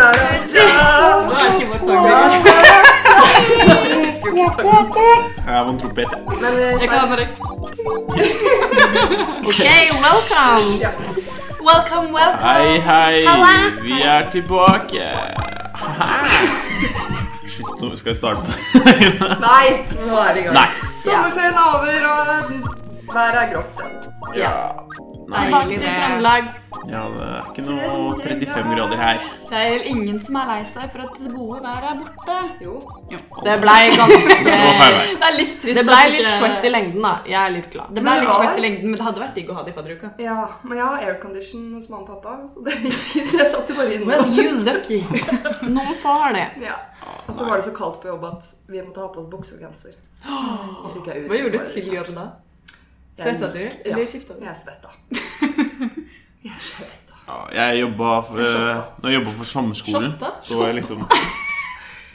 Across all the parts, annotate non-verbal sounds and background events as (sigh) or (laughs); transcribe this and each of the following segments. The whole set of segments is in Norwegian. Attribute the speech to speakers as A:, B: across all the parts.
A: Nå er ikke vår sang lenger.
B: Jeg har en trompet. jeg.
C: Men eh,
A: Jeg
C: snart-
A: kan bare
C: Okay, welcome! Welcome, welcome!
B: Hei, hei.
C: Halla.
B: Vi er tilbake. Hei. Shit, nå skal jeg starte.
C: Nei, nå er vi i gang.
B: Nei.
C: Sommerferien er over, og været er grått.
B: Ja. Nei,
D: Tilbake til Trøndelag.
B: ja, det er ikke noe 35 grader her.
D: Det er vel ingen som er lei seg for at det gode været er borte.
C: Jo.
D: Det blei ganske
B: Det var feil vei.
A: Det er litt trist.
D: Det blei
A: at
D: litt
A: ikke-
D: svett i lengden, da. Jeg er litt glad.
A: Det ble litt
C: Ja.
A: svett i lengden, men det hadde vært digg å ha det i
D: (laughs)
A: fadderuka.
C: Ja, men jeg har aircondition hos mamma og pappa, så det gikk fint. Jeg satt jo bare inne.
A: Well, you lucky. (laughs)
D: Noen få har det.
C: Ja. Og så var det så kaldt på jobb at vi måtte ha på oss bukse og genser. Hvis ikke jeg er ute, så
A: Hva gjorde
C: var
A: du
C: det
A: til
C: litt
A: jobb da?
C: kaldt.
A: Svetta du?
C: Jeg gikk-
A: Eller
C: Ja.
A: skifta du?
C: Jeg svetta. Jeg svetta.
B: Ja, jeg jobba for, eh, når jeg jobba for sommerskolen,
A: Shotta?
B: så var jeg liksom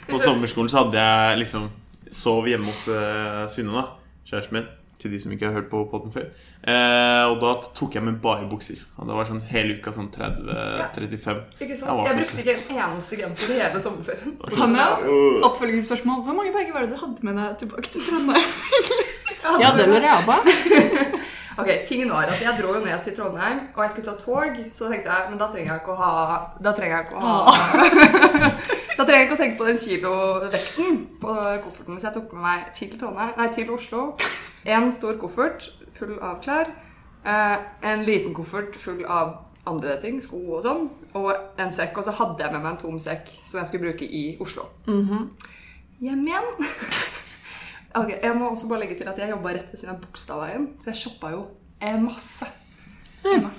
B: På sommerskolen så hadde jeg liksom Sov hjemme hos eh, Synne, da. Kjæresten min. Til de som ikke har hørt på podden før. Eh, og da tok jeg med bare bukser. Og det var sånn hele uka sånn
C: Ikke
B: 30-35. Jeg var
C: sant? Jeg
B: så
C: brukte ikke en eneste genser i hele sommerferien.
A: Hanna, oppfølgingsspørsmål. Hvor mange bager var det du hadde med deg tilbake til Trondheim?
D: Ja, det med raba.
C: Ok, tingen var at Jeg dro jo ned til Trondheim, og jeg skulle ta tog. Så tenkte jeg men da trenger jeg ikke å ha Da trenger jeg ikke å ha (laughs) Da trenger jeg ikke å tenke på den kilovekten på kofferten. Så jeg tok med meg til, Trondheim, nei, til Oslo en stor koffert full av klær. eh, En liten koffert full av andre ting, sko og sånn, og en sekk. Og så hadde jeg med meg en tom sekk som jeg skulle bruke i Oslo. Hjem igjen. (laughs) Ok, Jeg må også bare legge til at jeg jobba rett ved siden av Bogstadveien, så jeg shoppa jo eh, masse.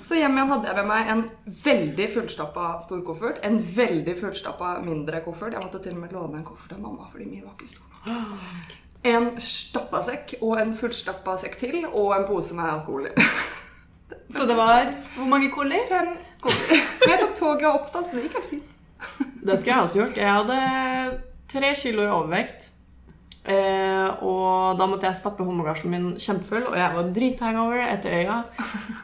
C: Så hjem igjen hadde jeg med meg en veldig fullstappa stor koffert. En veldig fullstappa mindre koffert. Jeg måtte til og med låne en koffert av mamma fordi min var ikke stor nok. En stappa sekk og en fullstappa sekk til og en pose med alkohol i. (laughs)
A: Så det var Hvor mange kolli?
C: Fem kofferter. Men jeg tok toget opp, da, så det gikk helt fint.
D: Det skulle jeg også gjort. Jeg hadde tre kilo i overvekt. Eh, og da måtte jeg stappe håndbagasjen min kjempefull, og jeg var drithangover etter øya.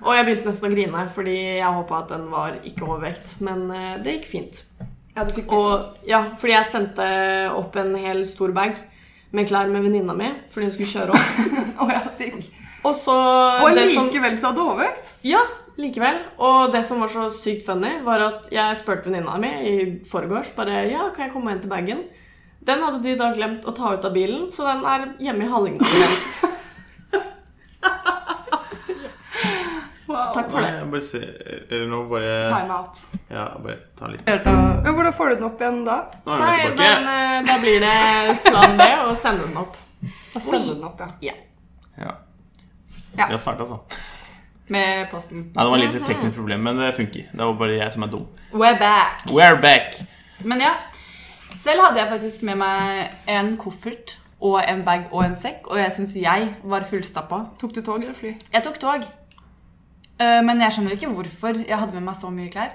D: Og jeg begynte nesten å grine, fordi jeg håpa at den var ikke overvekt. Men eh, det gikk fint.
C: Ja, du fikk (laughs)
D: Og, ja, fordi jeg sendte opp en hel stor bag med klær med venninna mi fordi hun skulle kjøre opp.
C: og jeg digg.
D: Og så
C: Og
D: det sånn- som,
C: likevel så hadde du overvekt.
D: Ja, likevel. Og det som var så sykt funny, var at jeg spurte venninna mi i forgårs bare Ja, kan jeg komme og hente bagen? Den hadde de da glemt å ta ut av bilen, så den er hjemme i Hallingdal. (laughs) igjen. Takk for
B: Nei,
D: det.
B: jeg bare ser Eller nå bare
C: Time out.
B: Ja, bare ta litt.
C: Men hvordan får du den opp igjen da?
B: Nå er
D: Nei,
B: vi tilbake.
D: den, eh, da blir det plan B å sende den opp.
C: Da sender den opp, ja.
B: Ja.
C: Ja.
B: Vi har starta, altså.
A: Med posten.
B: Nei, det var litt et teknisk problem, men det funker. Det var bare jeg som er dum.
A: We're back.
B: We're back!
A: Men ja. Selv hadde jeg faktisk med meg en koffert og en bag og en sekk, og jeg syns jeg var fullstappa.
C: Tok du tog eller fly?
A: Jeg tok tog. Eh, Men jeg skjønner ikke hvorfor jeg hadde med meg så mye klær.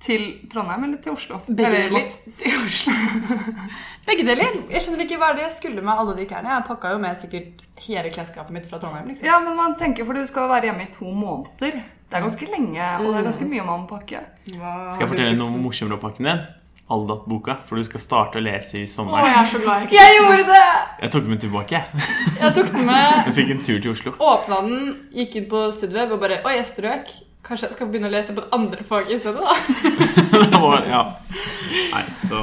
C: Til Trondheim eller til Oslo?
A: Begge
C: eller,
A: deler. Til Oslo. (laughs) Begge deler. Jeg skjønner ikke hva det er jeg skulle med alle de klærne. Jeg pakka jo med sikkert hele klesskapet mitt fra Trondheim. liksom.
C: Ja, men man tenker, for du skal være hjemme i to måneder. Det er ganske lenge, og det er ganske mye man må pakke.
B: Skal jeg fortelle noe morsommere om pakken din? Aldat-boka, for du skal starte å lese
D: Å,
B: i
D: jeg
B: sommer.
D: er så glad jeg ikke
A: Jeg gjorde det!
B: Jeg tok den tilbake. jeg.
A: Jeg tok den med,
B: Jeg fikk en tur til Oslo.
A: åpna den, gikk inn på studieweb og bare Oi, jeg strøk. Kanskje jeg skal begynne å lese på det andre faget i stedet, da.
B: (laughs) Det var, ja. Nei, så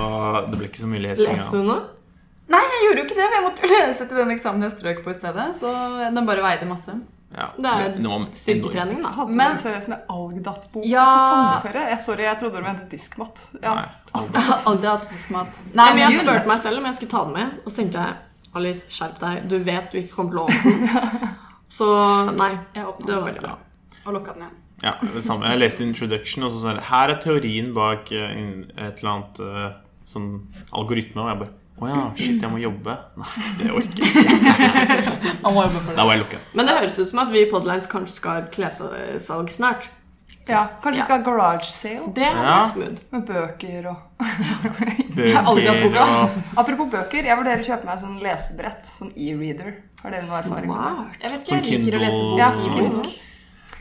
B: det ble ikke så mye lesing.
D: leser
B: Ja.
D: hun nå.
A: (laughs) Nei, jeg gjorde jo ikke det. for Jeg måtte jo lese til den eksamen jeg strøk på i stedet. Så den bare veide masse.
B: Ja.
D: Det er
B: det var enormt.
D: Styrketrening, da.
A: Men-
C: Men seriøst med Algdat-bok
A: Ja.
C: på sommerferie? Jeg, sorry, jeg trodde du mente diskmatt. Ja.
B: Nei, Aldat.
A: Aldri hatt smat.
D: Nei, men jeg spurte meg selv om jeg skulle ta den med, og så tenkte jeg Alice, skjerp deg. Du vet du ikke kommer til å åpne den. (laughs) Så nei. Det
A: Jeg
D: var
A: åpna den
D: veldig bra.
A: og lukka den igjen.
B: Ja, det samme. Jeg leste Introduction, og så sånn Her er teorien bak eh, en- et eller annet eh, sånn algoritme, og jeg bare Å ja, shit, jeg må jobbe. Nei, det orker jeg ikke.
A: Han må jobbe for
C: (laughs)
A: det.
B: Da var jeg lukka.
D: Men det høres ut som at vi i Podlines kanskje skal ha et klessalg snart.
C: Ja, Kanskje vi
D: Ja.
C: skal ha garage sale
D: Det hadde
B: Ja.
D: vært smooth.
C: med bøker og
D: aldri hatt
B: Bøker
D: boka.
B: og
C: Apropos bøker, jeg vurderer å kjøpe meg sånn lesebrett. Sånn e-reader. Har dere noe erfaring med det?
D: Smart.
A: Jeg vet ikke,
B: Sånn
A: jeg liker å lese
B: Kindle-
A: bok
C: Ja,
A: i
C: Kindle.
A: bok.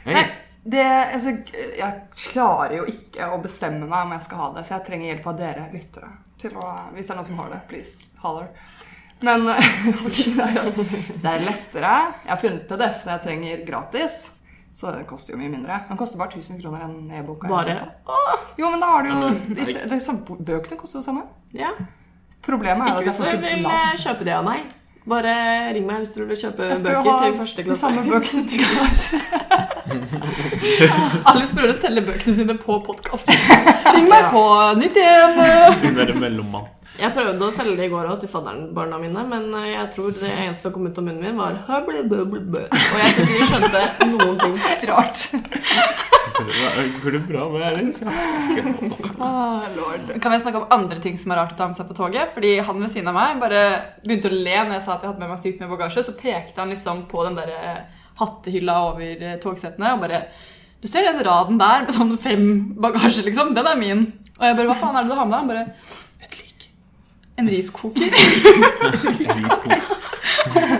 B: Hei.
C: Nei, det, altså, jeg klarer jo ikke å bestemme meg om jeg skal ha det, så jeg trenger hjelp av dere lyttere. Til å, hvis det er noen som har det, please, holler. Men eh, (laughs) fordi det er at det er lettere. Jeg har funnet PDF-en jeg trenger gratis. Så den koster jo mye mindre. Den koster bare 1000 kroner enn e-boka. jeg
D: Bare
C: ser på. Jo, men da har du jo
B: men-
C: i sted- det, er samme- Bøkene koster jo det samme.
D: Ja.
C: Problemet er
D: Ikke
C: at jeg
D: hvis du
C: får ikke
D: vil
C: bladd.
D: eh, kjøpe det av meg. Bare ring meg hvis du vil kjøpe
C: Jeg skal jo
D: bøker
C: ha
D: til første
C: de
D: klasse.
C: samme
D: (laughs)
C: bøkene til garasje.
A: Alice prøver å selge bøkene sine på podkasten. Ring meg på 91!
B: Hun er en mellommann.
D: Jeg prøvde å selge det i går også til fadderbarna mine, men eh, jeg tror det eneste som kom ut av munnen min, var «Hablebøblebø». Og jeg tror ikke de skjønte noen ting.
C: (laughs) Rart.
B: Går det bra med liksom? Erling?
C: Ah, lord.
A: Kan vi snakke om andre ting som er rart å ta med seg på toget? Fordi han ved siden av meg bare begynte å le når jeg sa at jeg hadde med meg sykt mye bagasje. Så pekte han liksom på den der eh, hattehylla over eh, togsettene og bare Du ser den raden der med sånn fem bagasje, liksom? Den er min. Og jeg bare Hva faen er det du har med deg? Han bare Et lik. En riskoker.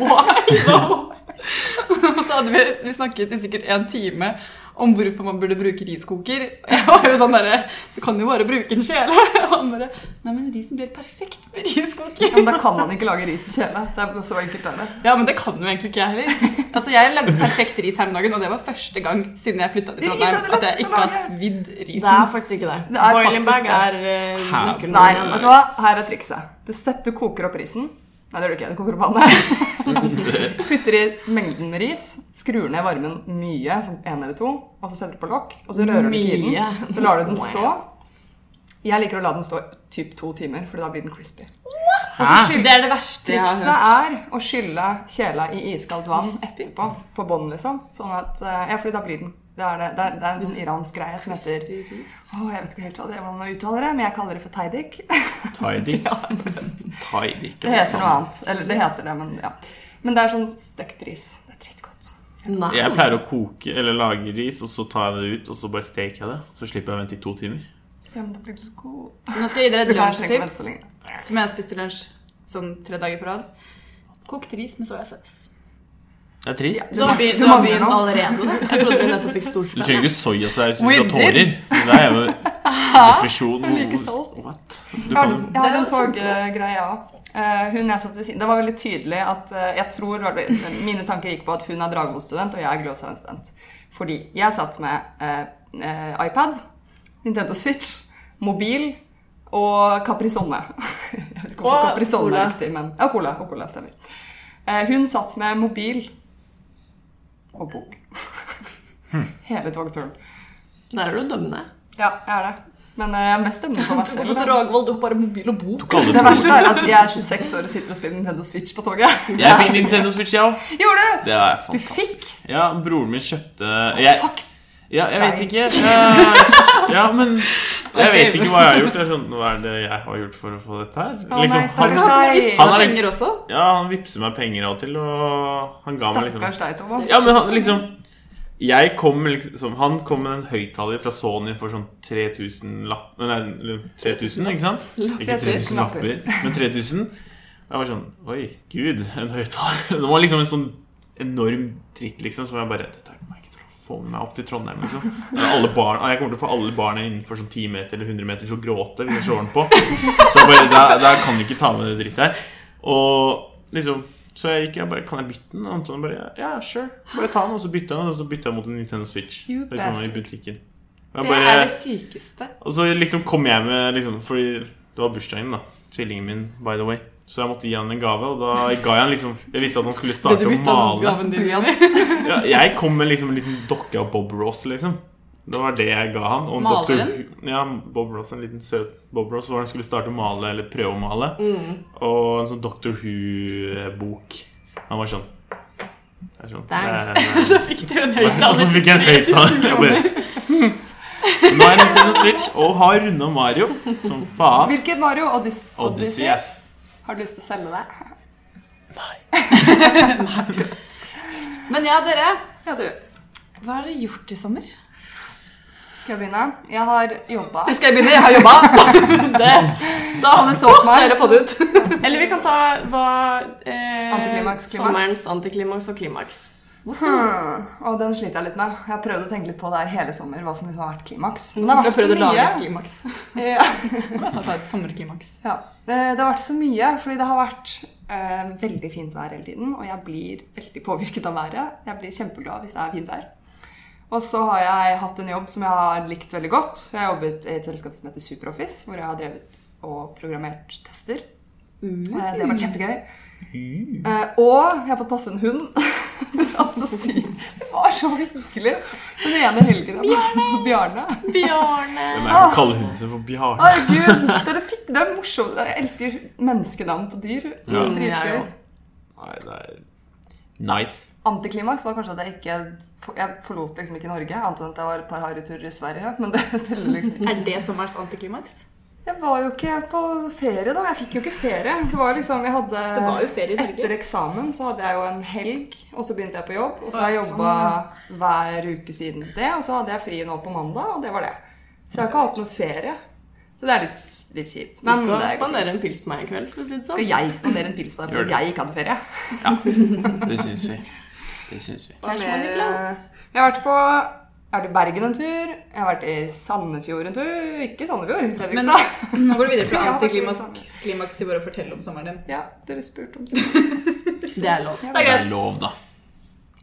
A: Why (laughs) though? Og så hadde vi, vi snakket i sikkert en time om hvorfor man burde bruke riskoker. Og jeg var jo sånn derre Du kan jo bare bruke en kjele. (laughs) Og han bare Nei, men risen blir perfekt med riskoker.
C: Ja, men da kan man ikke lage ris i kjele. Det er så enkelt er det.
A: Ja, men det kan jo egentlig ikke jeg heller. Altså, Jeg lagde perfekt ris her om dagen, og det var første gang siden jeg flytta til
C: Ris er det
A: Trondheim at jeg
C: letteste
A: ikke har
C: laget.
A: svidd
D: Det er
A: risen.
D: faktisk ikke det.
C: Det er
D: Boiling
C: faktisk
D: bag
C: det.
D: er eh,
B: Hæ?
D: nøkkelen.
C: Nei,
D: min.
C: vet du hva? Her er trikset. Du, setter, du koker opp risen. Nei, det gjør du ikke. Du koker opp vannet. Putter i mengden med ris. Skrur ned varmen mye, som en eller to. Og så setter du på lokk. Og så rører du ikke i
D: Mye.
C: den. Så lar du den stå.
D: Wow.
C: Jeg liker å la den stå typ to timer, for da blir den crispy.
D: Ah.
A: Det er det verste jeg har
C: Trikset
A: hørt.
C: er å skylle kjela i iskaldt vann etterpå, på bånn, liksom. Sånn at, eh, ja, fordi da blir den det er, det, det, er, det er en sånn iransk greie som heter Åh, Jeg vet ikke helt hva det er, hvordan man uttaler det, men jeg kaller det for teidik.
B: Tidic. Tidic.
C: Det heter noe annet. Eller det heter det, men ja. Men det er sånn stekt ris. Det er drittgodt.
D: Nei.
B: Jeg pleier å koke eller lage ris, og så tar jeg det ut, og så bare steker jeg det. Så slipper jeg å vente i to timer.
C: Ja, men det blir så god.
A: Nå skal jeg gi dere
C: Du
A: et
C: kan ikke vente
A: lunsjtips
C: så lenge.
A: som jeg spiste til lunsj sånn tre dager på rad. Kokt ris med soyasaus.
B: Det er trist.
D: Du har begynt, du har begynt allerede. da. Jeg trodde vi nettopp fikk
B: Du
D: storspenn.
B: trenger ikke soyasaus hvis du har
A: With
B: tårer. Det er jo depresjon.
C: liker salt.
B: What?
C: Jeg
B: Du
C: har, jeg har
B: kan,
D: Det
C: en
D: er jo sånn-
C: toggreie òg. Eh, hun jeg satt ved siden Det var veldig tydelig at eh, jeg tror var det- Mine tanker gikk på at hun er Dragvoll-student, og jeg er Glåshaugen-student. Fordi jeg satt med eh, eh, iPad, Nintendo Switch, mobil og Capri Sonne. (laughs) Jeg vet ikke hvorfor
D: Og
C: Capri Sonne
D: cola.
C: er riktig, men Ja, cola. Og cola stemmer. Eh, hun satt med mobil og bok. (laughs)
D: Hm.
C: Hele togturen.
D: Der er du dømmende.
C: Ja, jeg er det. Men eh, jeg er mest stemmer på meg
D: (laughs)
C: selv. da.
A: Dragvoll, du har bare mobil og bok.
B: du
C: (laughs)
B: kan
C: Det
B: aldri
C: verste er at jeg er 26 år og sitter og spiller Nintendo Switch på toget.
B: Jeg fikk Nintendo Switch, jeg òg.
C: Gjorde du?
B: Det er
C: Du
B: fantastisk.
C: fikk?
B: Ja, broren min kjøpte jeg,
C: fuck.
B: Ja, jeg vet
C: Deg.
B: ikke. Eh, Ja, men jeg vet ikke hva jeg har gjort. Jeg skjønte, Hva er det jeg har gjort for å få dette her?
C: Å nei,
B: Liksom, han,
C: stakkars deg.
B: Han er litt-
A: penger også.
B: ja, han vippser meg penger av og til, og han ga meg
C: Stakkars
B: liksom
C: deg, Thomas.
B: Ja, men han liksom jeg kom liksom, Han kom med en høyttaler fra Sony for sånn 3000 lapp Nei, nei, 3000, ikke sant? Ikke 3000 lapper, men 3000. Og jeg var sånn Oi, gud, en høyttaler. (laughs) Det var liksom en sånn enorm tritt, liksom, som jeg bare Dette her kommer jeg ikke til å få med meg opp til Trondheim, liksom. Det er Alle barn, jeg kommer til å få alle barna innenfor sånn 10 meter eller 100 meter til å gråte hvis jeg slår den på. Så jeg bare Der, der kan vi ikke ta med det drittet her. Og liksom så jeg gikk, jeg bare, kan jeg bytte den? Og Anton bare, ja, sure. Bare ta den, og så bytte jeg den, og så bytte jeg mot en Nintendo Switch.
C: You
B: Liksom, i
C: bastard.
B: butikken. Og jeg
A: Det
B: bare-
A: er det sykeste.
B: og så liksom kom jeg med liksom, Fordi det var bursdagen da Tvillingen min, by the way Så jeg måtte gi han en gave Og da ga jeg han liksom Jeg visste at han skulle starte å male
A: gaven din (laughs)
C: Blyant.
B: ja, Jeg kom med liksom en liten dokke av Bob Ross liksom Det var det jeg ga han og en doktor- Ja, Bob Ross, en liten søt Bob Ross Hvor han skulle starte å male, eller prøve å male Og en sånn Doctor Who-bok Han var sånn Jeg er sånn,
D: Thanks.
B: (laughs) det er-
A: Så fikk du en
B: og så
A: høyttaler.
B: fikk jeg en (laughs) høyttaler. Jeg bare, «Hm». Nå er Nintendo Switch og har runda Mario som faen.
C: Hvilket Mario? Odyssey?
B: Odyssey, ass.
C: Har du lyst til å selge det?
A: Men ja, dere.
C: Ja, du.
A: Hva har dere gjort i sommer?
C: Skal jeg begynne? Jeg har jobba.
A: Skal jeg begynne? Jeg har jobba! (laughs) det. Da hadde så på meg. Dere fått det ut.
D: Eller vi kan ta hva eh,
C: Antiklimaks, klimaks.
D: sommerens antiklimaks og klimaks.
C: Hmm. Og den sliter jeg litt med. Jeg har prøvd å tenke litt på det her hele sommer, hva som liksom har vært klimaks. Men det har
A: Jeg
C: vært så
A: prøvde å lage
C: mye.
A: et klimaks.
C: Ja.
A: Nå må jeg snart ha et sommerklimaks.
C: Ja. Eh, Det har vært så mye, fordi det har vært eh, veldig fint vær hele tiden. Og jeg blir veldig påvirket av været. Jeg blir kjempeglad hvis det er fint vær. Og så har jeg hatt en jobb som jeg har likt veldig godt. Jeg har jobbet i et selskap som heter Superoffice, hvor jeg har drevet og programmert tester. Eh, Det har vært kjempegøy. Eh, og jeg har fått passe en hund. (laughs) det er altså sykt. Det var så hyggelig. Den ene helgen jeg passet på Bjarne.
D: Bjarne!
B: Hvem er det som kaller hunden sin for Bjarne?
C: Herregud, dere fikk det er morsomt. Jeg elsker menneskenavn på dyr.
B: Ja.
D: Mm, jeg
C: Dritgøy.
D: òg.
B: Nei, det er nice.
C: Antiklimaks var kanskje at jeg ikke Jeg forlot liksom ikke Norge, annet enn at jeg var et par harryturer i Sverige. Men det (laughs) teller liksom ikke.
A: Er det sommerens antiklimaks?
C: Jeg var jo ikke på ferie, da. Jeg fikk jo ikke ferie. Det var liksom, jeg hadde
A: Det var jo ferie i Norge.
C: Etter eksamen så hadde jeg jo en helg, og så begynte jeg på jobb. Og så har jeg jobba
D: sånn,
C: hver uke siden det, og så hadde jeg fri nå på mandag, og det var det. Så jeg har ikke hatt noen ferie. Så det er litt, litt kjipt.
D: Du
C: Men
D: skal
C: det er jo
D: spandere en pils på meg i kveld. for å si det sånn.
C: Skal jeg spandere en pils på deg
B: Gjør
C: fordi
B: det.
C: jeg ikke hadde ferie?
B: Det syns vi. Det syns vi.
D: Cash money flow.
C: Jeg har vært på jeg har vært i Bergen en tur, jeg har vært i Sandefjord en tur Ikke Sandefjord,
A: Men
C: Fredrikstad.
A: nå går du videre fra
C: Ja,
A: antiklimaks klimaks til bare å fortelle om sommeren din.
C: Ja, dere spurte om sånt.
D: (laughs) Det er lov.
A: Det er
B: Det er
A: greit.
B: lov, da.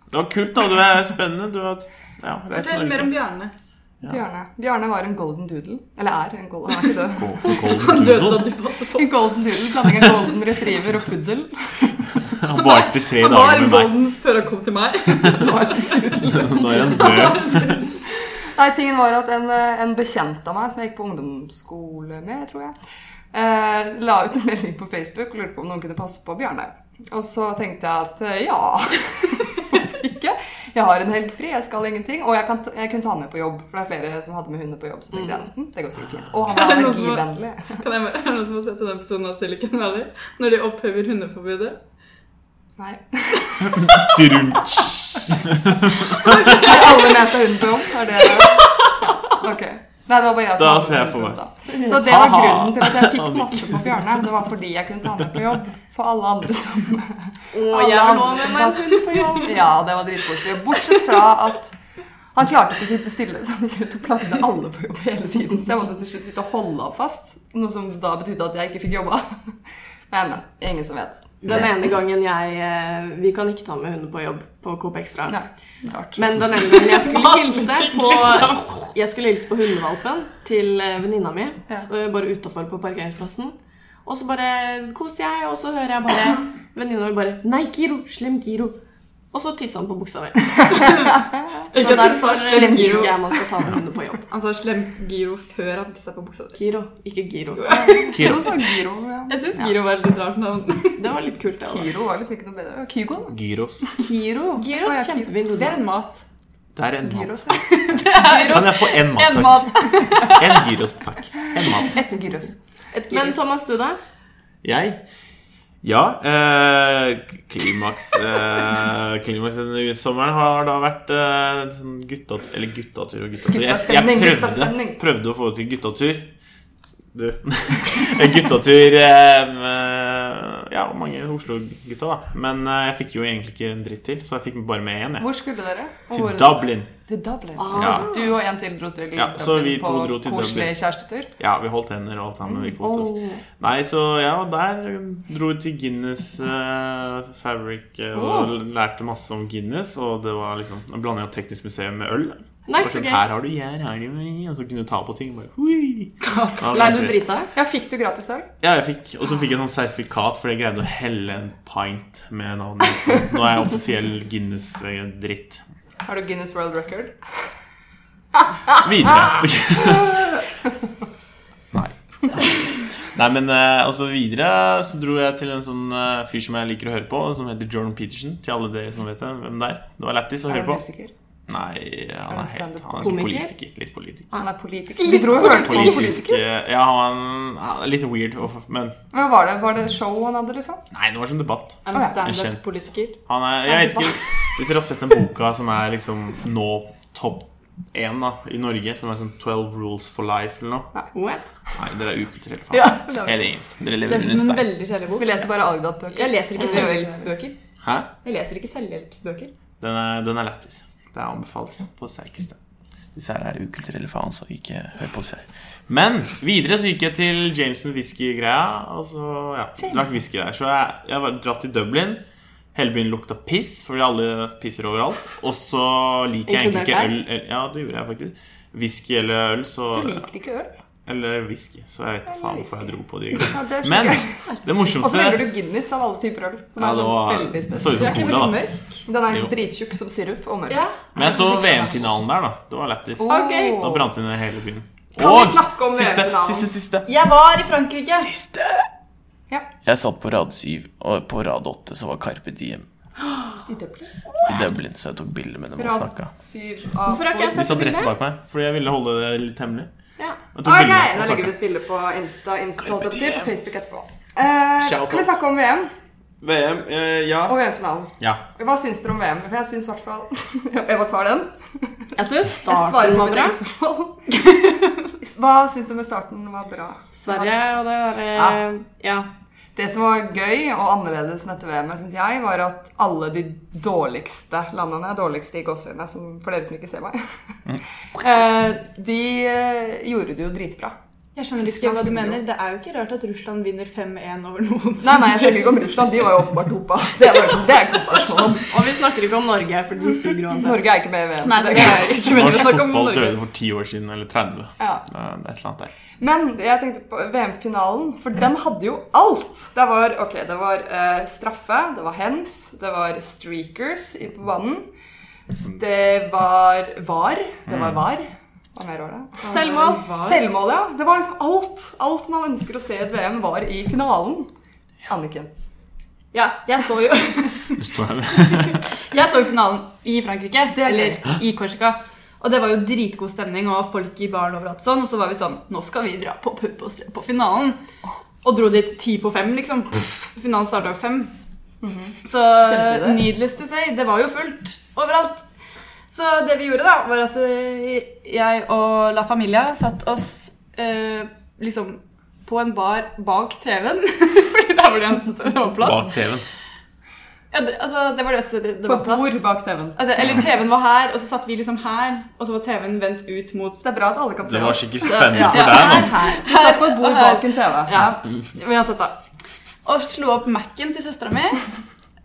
B: Det var kult, da. Du er spennende. Du har ja, reist
A: Fortell mer om Bjarne.
B: Ja.
C: Bjarne. Bjarne var en golden doodle. Eller er en golden, han er ikke det.
A: (laughs) Han
B: Golden
A: døde da
B: Doodle.
A: du passet på.
C: En golden doodle, blanding av golden retriever og puddel.
B: Han varte i tre
A: Han var
B: dager
A: en
B: med meg.
A: golden før han kom til meg.
B: Nå er han død.
C: Nei, tingen var at en, eh, en bekjent av meg, som jeg gikk på ungdomsskole med, tror jeg, eh, la ut en melding på Facebook og lurte på om noen kunne passe på Bjarne. Og så tenkte jeg at eh, ja, (laughs) hvorfor ikke? Jeg har en helg fri, jeg skal ingenting. Og jeg, kan ta, jeg kunne ta han med på jobb, for det er flere som hadde med hunder på jobb. Så tenkte jeg, hm, det går sikkert fint. Og han var
A: Er Mm. (laughs) det noen som-
C: allergivennlig.
A: Kan jeg (laughs) bare, Er det noen som har sett denne episoden av Silicon Valley? Når de opphever hundeforbudet?
C: Nei.
B: Drunt.
C: Har alle med seg hunden på jobb? Er det Ok. Nei, det var bare jeg som
B: Da
C: hadde
B: ser jeg
C: hunden
B: for
C: på
B: meg.
C: jobb, da. Så det var
B: Ha-ha.
C: grunnen til at jeg
B: (laughs)
C: fikk
B: Han liker.
C: masse på Bjarne. Det var fordi jeg kunne ta han med på jobb. For alle andre som
D: Og
C: Alle
D: jeg vil
C: andre
D: ha med
C: som
D: meg en
C: passer.
D: hund på jobb.
C: Ja, det var dritkoselig. Bortsett fra at han klarte ikke å sitte stille, så han gikk rundt og plagde alle på jobb hele tiden. Så jeg måtte til slutt sitte og holde ham fast, noe som da betydde at jeg ikke fikk jobba. Men ingen som vet.
D: Den ene gangen jeg eh, Vi kan ikke ta med hunder på jobb på Coop Extra.
C: Nei, klart.
D: Men den ene gangen jeg skulle hilse på Jeg skulle hilse på hundevalpen til eh, venninna mi,
C: Ja.
D: så, eh, bare utafor på parkeringsplassen. Og så bare koser jeg, og så hører jeg bare venninna mi bare 'Nei, Giro! Slem Giro!' Og så tisser han på buksa
A: (laughs)
D: mi. Så
A: Ikke at du
D: derfor
A: får
D: eh,
A: slem
D: syns
A: giro.
D: ikke jeg man skal ta med hunder på jobb.
A: Han sa slem giro før han tissa på buksa di.
D: Giro, ikke
A: (laughs)
D: Giro.
C: Kyro så Giro, ja.
A: Jeg syns giro var et litt rart navn.
D: Det var litt kult, det òg.
C: Kyro var liksom ikke noe bedre. Kygo? da.
B: Gyros.
D: Giro.
A: Giro
D: Å,
A: er
D: ja, kjempefin
A: Det
D: hodde.
A: er en mat.
B: Det er en mat.
C: Gyros, ja.
B: Kan jeg få en mat,
A: En
B: takk?
A: mat.
B: En gyros, takk. En mat.
C: Et gyros.
A: Et giro.
D: Men Thomas, du da?
B: Jeg? Ja. Eh, klimaks eh, Klimaks denne sommeren har da vært eh, sånn gutta, eller guttatur og guttatur. Jeg, jeg
C: Guttastemning,
B: prøvde,
C: guttastemning.
B: prøvde å få til guttatur. Du. (laughs) En guttatur eh, med ja, mange Oslo-gutta, da. Men eh, jeg fikk jo egentlig ikke en dritt til, så jeg fikk bare med én. Jeg.
C: Hvor skulle dere? Og
B: Til
C: hvor-
B: Dublin.
C: Til Dublin.
B: Ja.
C: Du og en til dro til
B: Ja, så vi
C: Dublin
B: to dro
C: på
B: til Dublin.
C: koselig kjærestetur.
B: Ja, vi holdt hender og alt sammen. Vi koste
D: Mm.
B: oss. Nei, så ja, der dro vi til Guinness eh, Fabric eh, og lærte masse om Guinness. Og det var liksom Nå blander jeg teknisk museum med øl.
D: Nei,
B: Og
D: så
B: sånn,
D: gøy.
B: her har du gjær, her har du Og så kunne du ta på ting. og Bare,
D: (laughs)
B: hui. Ja,
D: Ble du
B: så-
D: drita?
C: Ja, fikk du gratis øl?
B: Ja, jeg fikk, og så fikk jeg sånn sertifikat fordi jeg greide å helle en pint med navnet mitt. Så Nå er jeg offisiell Guinness-dritt.
C: Har du Guinness World Record?
B: Videre. Nei. Nei, men eh, og så videre så dro jeg til en sånn eh, fyr som jeg liker å høre på, som heter Jordan Peterson. Til alle dere som vet det, hvem det er. Det var lættis å
C: Er
B: høre
C: du
B: på.
C: musiker?
B: Nei, han er, helt,
C: stand-up
B: han er
D: komiker?
B: politiker. Litt politiker.
C: Han er politiker. (laughs) Du dro og hørte på han.
B: Politisk eh, Ja, han han er litt weird, og- men
C: Hva var det? Var det show han hadde, liksom?
B: Nei, det var sånn debatt.
A: Er han
C: Å, ja.
A: standup-politiker?
B: Han er, jeg vet ikke Hvis dere har sett den boka som er liksom nå topp én da, i Norge som er sånn 12 rules for life eller noe.
D: What?
B: Nei, dere er ukulturelle, faen.
A: Ja.
B: Hele gjengen. Dere
A: Det
B: lever
A: er
B: under
A: som
B: en
A: en
B: stein.
A: veldig kjedelig
C: Vi
A: bok.
C: leser bare Agdat-bøker.
A: Jeg leser ikke selvhjelpsbøker.
B: Hæ?
A: Jeg leser ikke selvhjelpsbøker.
B: Den er, den er lættis. Det anbefales på det sterkeste. Disse her er ukulturelle faen, så ikke hør på disse her. Men videre så gikk jeg til Jameson whisky-greia. Og så, ja, drakk whisky der. Så jeg, jeg var dratt til Dublin. Hele byen lukta piss, fordi alle pisser overalt. Og så liker jeg egentlig ikke øl eller- Ja, det gjorde jeg faktisk. Whisky eller øl, så
A: Du liker ikke øl.
B: Eller whisky. Så jeg vet ikke faen hvorfor jeg dro på de greiene.
C: Ja, det skjønner
B: Men
C: (laughs) jeg.
B: det
C: Og så
B: morsomste
C: velger du Guinness av alle typer øl. Som
B: Ja,
C: er
B: det var-
C: sånn veldig
B: det så ut
C: spesiell.
B: som
C: Du er ikke veldig
B: cola, da.
C: mørk. Den er
B: Jo.
C: drittjukk som sirup og mørk.
A: Ja.
B: Men jeg så VM-finalen der, da. Det var lættis.
C: Ok.
B: Da brant det ned hele byen.
C: Kan vi snakke om
B: siste,
C: VM-finalen?
B: siste, siste.
A: Jeg var i Frankrike.
B: Siste!
C: Ja.
E: Jeg satt på rad 7, og på rad 8 så var Carpe Diem
C: I Dublin.
E: i Dublin, så jeg tok bilde med dem og
C: Rad
E: snakka.
C: syv av
D: Hvorfor har ikke jeg
B: De
D: sett
B: satt rett
D: bildet?
B: bak meg, fordi jeg ville holde det litt hemmelig.
D: Ja.
B: Jeg tok
C: Ok,
B: bilder
C: Da
B: og
C: legger vi
B: snakket.
C: ut bilde på Insta, Insta holdt jeg på å si, på Facebook etterpå. Eh,
B: Shout
C: kan vi
B: out.
C: snakke om VM
B: VM, eh, ja.
C: og VM-finalen?
B: ja.
C: Hva syns dere om VM? For jeg syns i hvert fall (laughs) Jeg bare tar den.
D: Jeg syns
C: Jeg svarer
D: starten
C: på
D: var
C: mitt
D: bra.
C: eget spørsmål.
D: (laughs)
C: Hva syns du med starten var bra?
D: Sverige og det derre
C: Ja.
D: ja.
C: Det som var gøy og annerledes med dette VM-et, synes jeg, var at alle de dårligste landene, dårligste i gåseøynene, som- for dere som ikke ser meg,
B: Mm.
C: (laughs) eh, de eh, gjorde det jo dritbra.
A: Jeg skjønner ikke
C: Tyskland
A: hva du
C: vinner jo.
A: mener. Det er jo ikke rart at Russland vinner 5-1 over noen.
C: Nei, nei, jeg snakker ikke om Russland. De var jo åpenbart dopa. Det er bare- det er ikke noe spørsmål om.
D: (laughs) Og vi snakker ikke om Norge, for den suger uansett.
C: Norge er ikke med i VM.
D: Nei,
C: så det
D: det
C: er
D: er
C: greit.
B: Norsk
C: Snakk om
B: fotball
C: Norge.
B: døde for 10 år siden, eller 30.
C: Ja.
B: Det er et eller (laughs) annet der.
C: Men jeg tenkte på VM-finalen, for den hadde jo alt. Det var, ok, det var eh, straffe, det var hens, det var streakers i- på banen. Det var var. Det
B: Mm.
C: var var. Hva mer var det?
D: Selvmål.
C: Selvmål, ja. Det var liksom alt. Alt man ønsker å se i et VM, var i finalen. Anniken.
A: Ja, jeg så jo
B: Du står her med
A: Jeg så jo finalen i Frankrike,
C: Det er
A: eller i Korsika. Og det var jo dritgod stemning og folk i baren overalt sånn. Og så var vi sånn Nå skal vi dra på pub og se på finalen. Og dro dit ti på fem, liksom. Pff, Finalen starta jo fem. Så
C: Kjente det.
A: needless to say, det var jo fullt overalt. Så det vi gjorde, da, var at eh, jeg og La Familia satt oss eh, liksom på en bar bak TV-en. (laughs) Fordi der var det eneste stedet det var plass.
B: bak TV-en.
A: Ja, det, altså, det var det stedet det
C: På
A: var
C: et
A: plass.
C: bord bak TV-en.
A: Altså, eller TV-en var her, og så satt vi liksom her, og så var TV-en vendt ut mot
C: Så det er bra at alle kan se
B: Det var
C: oss.
B: sikkert spennende
A: Ja.
B: for deg, mann.
C: Vi satt på et bord
A: Her.
C: bak en TV.
A: Ja, vi har satt da. Og slo opp Mac-en til søstera mi.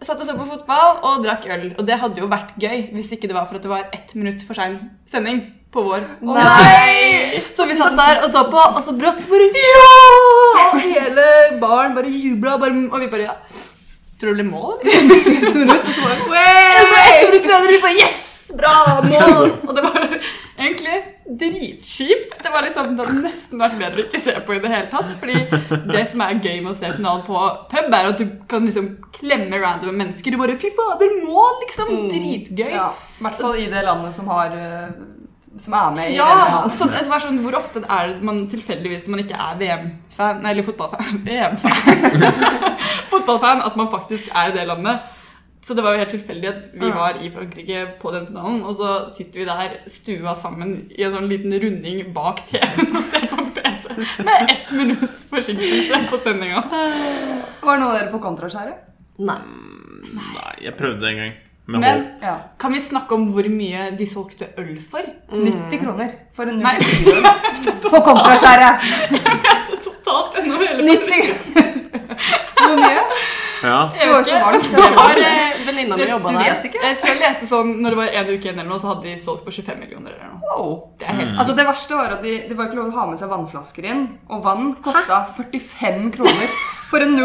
A: Satt og så på fotball og drakk øl. Og det hadde jo vært gøy hvis ikke det var for at det var ett minutt for sein sending på vår.
C: Nei!
A: Så vi satt der og så på, og så brått så bare Ja! Og hele baren bare jubla, bare, og vi bare ja. Tror du det ble mål? eller? Og så ett minutt senere vi bare Yes! Bra! Mål! Og det var egentlig dritkjipt. Det var liksom, det hadde nesten vært bedre å ikke se på i det hele tatt. Fordi det som er gøy med å se finalen på pub, er at du kan liksom klemme random mennesker. Du bare Fy fader, mål! Liksom. Dritgøy.
C: Ja, I hvert fall i det landet som har eh, Som er med i
A: Ja,
C: VM-finalen.
A: sånn, det var sånn, Hvor ofte er det man tilfeldigvis når man ikke er VM-fan, nei, eller fotballfan (laughs) VM-fan (laughs) Fotballfan, at man faktisk er i det landet? Så det var jo helt tilfeldig at vi
C: Ja.
A: var i Frankrike på den finalen, og så sitter vi der stua sammen i en sånn liten runding bak TV-en og ser på PC med ett minutt forsinkelse på sendinga.
C: Var noen av dere på kontraskjæret?
D: Nei.
B: Nei, jeg prøvde en gang. Men,
A: Men
B: hold-
C: Ja.
A: kan vi snakke om hvor mye de solgte øl for?
C: 90 kroner for en
A: Mm. Nei. (laughs)
C: null. På kontraskjæret!
A: Totalt ennå hele
C: 90 kroner! Hvor mye?
B: ja.
C: Det var jo så varmt.
D: Det var eh, venninna mi
A: Det-
D: jobba
C: Du
D: der.
C: vet ikke?
A: Jeg tror jeg leste sånn Når det var en uke igjen, eller noe, så hadde de solgt for 25 millioner. eller noe Det er helt
C: Altså Det verste var at de, det var ikke lov å ha med seg vannflasker inn. Og vann kosta 45 kroner for en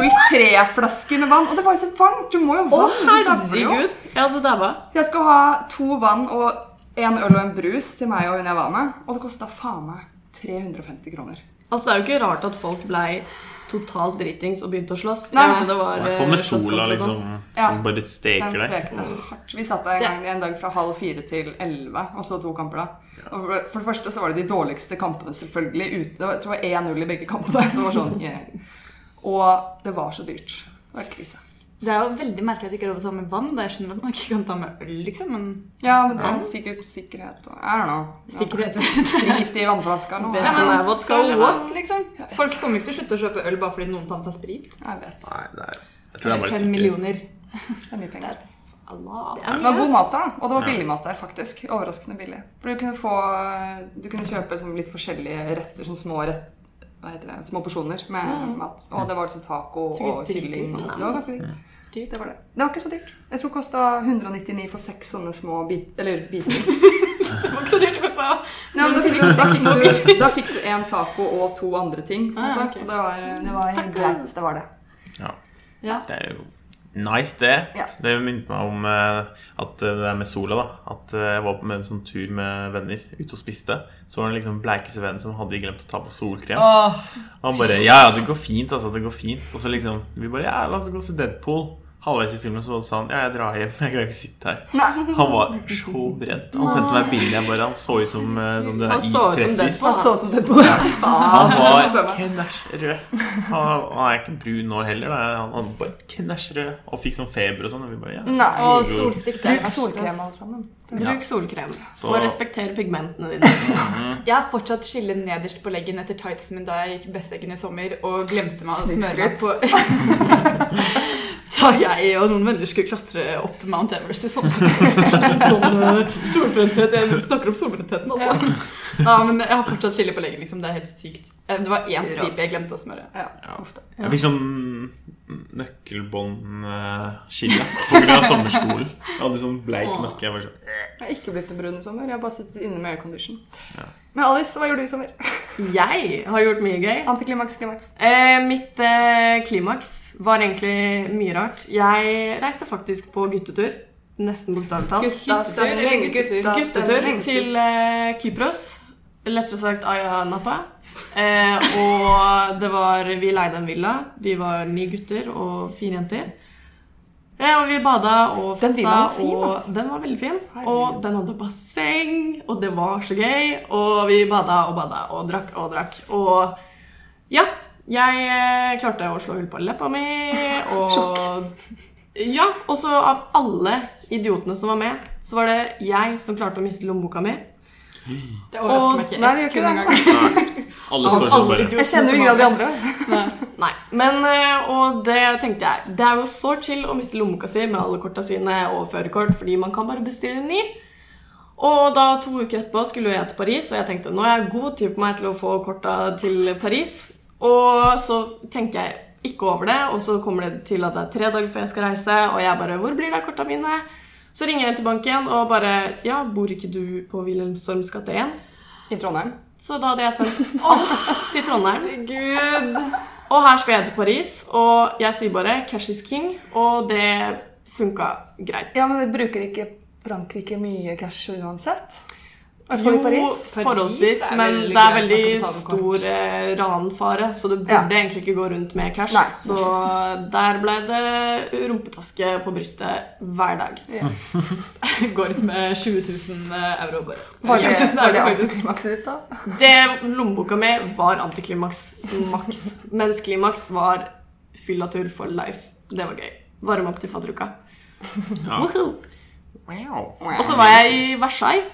C: 03-flaske med vann. Og det var jo så varmt! Du må jo ha vann! du dabber jo.
D: Herregud. Jeg hadde dabba.
C: Jeg skal ha to vann og en øl og en brus til meg og hun jeg var med. Og det kosta faen meg 350 kroner.
D: Altså, det er jo ikke rart at folk blei totalt dritings og begynte å slåss.
C: Nei.
D: Jeg hørte det var
B: I hvert fall
D: eh,
B: med
D: slåsskamp
B: sola,
D: og sånn.
B: liksom.
C: Ja.
B: Som bare
C: Den
B: steker deg.
C: stekte hardt. Vi satt der en, gang, en dag fra halv fire til elleve, og så to kamper da. Og for- for det første så var det de dårligste kampene, selvfølgelig. Ute. Det var- Jeg tror det
D: (laughs)
C: var 1-0 i begge kampene. Så det var sånn, yeah. Og det var så dyrt. Det var helt krise.
A: Det er jo veldig merkelig at det ikke er lov å ta med vann. Da jeg skjønner at man ikke kan ta med øl, liksom, men
C: Ja, men det er sikkert sikkerhet og I don't know.
A: Sikkerhet. (laughs)
C: Sprit i vannflaska nå.
D: (laughs) Vet
A: ja,
D: du
A: men
D: hva er vodka,
A: so
D: eller hva?
A: what, liksom. Folk kommer jo ikke til å slutte å kjøpe øl bare fordi noen tar med seg sprit.
C: Jeg vet.
B: Nei, det er Jeg tror det er
A: 25
B: bare sikkerhet.
A: millioner.
C: Det er mye penger.
A: Allah.
D: Ja,
C: Det var god
D: men-
C: mat der, da. Og det var
B: Ja.
C: billig mat der, faktisk. Overraskende billig. For du kunne få Du kunne kjøpe liksom litt forskjellige retter, sånn små rett... Hva heter det? Små porsjoner med mat. Og det var liksom taco
A: Mm. Sikkert
C: og
A: dyrt,
C: kylling.
A: dyrt.
C: Det var ganske dyrt.
A: Dyrt.
C: Det var det. Det var ikke så dyrt. Jeg tror det kosta 199 for seks sånne små bit, eller biter.
A: (laughs) Det var ikke så dyrt å få.
C: Nei, men da fikk, du, da, fikk du, da fikk du en taco og to andre ting. på en
A: Ah,
C: måte.
A: ok.
C: Så det var, det var greit. Det var det.
B: Ja.
A: Ja.
B: Det er jo nice, det.
C: Ja.
B: Det minnet meg om eh, at eh, det der med sola. da At eh, jeg var på med en sånn tur med venner ute og spiste. Så var det liksom bleikeste vennen som hadde glemt å ta på solkrem.
A: Åh,
B: Og han bare Ja, ja, det går fint, altså. Det går fint. Og så liksom Vi bare Ja, la oss gå og se Deadpool. Halvveis i filmen så sa han Ja, jeg drar hjem. Jeg greier ikke å sitte her. Han var så brent. Han sendte meg bilde. Jeg bare Han så ut som, eh, som det
D: Han
B: der i
D: så ut som
B: Tressis.
C: Han så ut som det på Faen.
B: Han
C: for
B: var
C: meg.
B: knæsjrød. Han, han er ikke brun nå heller. da. Han, han var knæsjrød og fikk sånn feber og sånn. Og vi bare, ja.
C: Nei.
A: og solstikk. det er
C: Bruk
A: verst,
C: solkrem,
A: ass.
C: alle sammen.
D: Bruk solkrem.
B: Så-
D: Og respekter pigmentene
C: (laughs)
D: dine.
A: Jeg har fortsatt skille nederst på leggen etter tightsen min da jeg gikk Besseggen i sommer og glemte meg å smøre meg på (laughs) Da jeg og noen venner skulle klatre opp Mount Everest i sommer. sånn eh, solbrenthet. Jeg snakker om solbrentheten, altså. Ja, men jeg har fortsatt skille på leggen. liksom. Det er helt sykt. Eh, Det var én stripe jeg glemte å smøre.
C: Ja,
B: Ja.
C: ofte.
B: Jeg fikk sånn nøkkelbåndskille pga. sommerskolen. Jeg hadde sånn bleik nakke. Jeg var sånn
C: Jeg har ikke blitt noe brun i sommer. Jeg har bare sittet inne med aircondition. Men Alice, hva gjorde du i sommer?
D: Jeg har gjort mye gøy.
C: Antiklimaks, klimaks.
D: Eh, mitt eh, klimaks var egentlig mye rart. Jeg reiste faktisk på guttetur. Nesten bokstavelig talt.
A: Guttetur, guttetur.
D: Guttetur til eh, Kypros. Lettere sagt Aya Napa. Eh, og det var Vi leide en villa. Vi var ni gutter og fire jenter. Eh, og vi bada og
C: Den
D: festa.
C: villaen var fin,
D: og
C: ass.
D: den var veldig fin.
C: Herregud.
D: Og den hadde basseng, og det var så gøy. Og vi bada og bada og drakk og drakk. Og ja. Jeg eh, klarte å slå hull på leppa
C: (laughs)
D: mi, og ja, og så av alle idiotene som var med, så var det jeg som klarte å miste lommeboka mi.
A: Det overrasker meg
C: Nei,
A: ikke.
C: det gjør ikke det.
B: Alle står sånn bare
C: (laughs) Jeg kjenner jo ingen av de andre.
D: Nei, men eh, Og det tenkte jeg. Det er jo så chill å miste lommeboka si med alle korta sine og førerkort, fordi man kan bare bestille en ny. Og da to uker etterpå skulle jeg til Paris, og jeg tenkte nå har jeg god tid på meg til å få korta til Paris. Og så tenker jeg ikke over det, og så kommer det til at det er tre dager før jeg skal reise, og jeg bare Hvor blir det av korta mine? Så ringer jeg til banken og bare Ja, bor ikke du på Wilhelmstorms gate 1?
C: I Trondheim.
D: Så da hadde jeg sendt alt til Trondheim.
A: Herregud.
D: Og her skal jeg til Paris, og jeg sier bare 'cash is king', og det funka greit.
C: Ja, men vi bruker ikke Frankrike mye cash uansett. I hvert
D: Jo,
C: fall i Paris.
D: forholdsvis,
A: Paris er
D: men
A: veldig
D: det er
A: greit å
D: veldig
A: kunne ta med kort.
D: stor eh, ranfare, så du burde
C: Ja.
D: egentlig ikke gå rundt med cash.
C: Nei.
D: Så der ble det rumpetaske på brystet hver dag.
A: Går ut med 20 000 euro, bare.
C: Var det,
A: 20 000
C: var det
A: euro, faktisk.
C: antiklimakset ditt, da?
D: Det Lommeboka mi var antiklimaks maks, (laughs) mens klimaks var fyllatur for life. Det var gøy. Varme opp til fadderuka.
B: Ja.
D: Woohoo!
B: Wow.
D: Og så var jeg i Versailles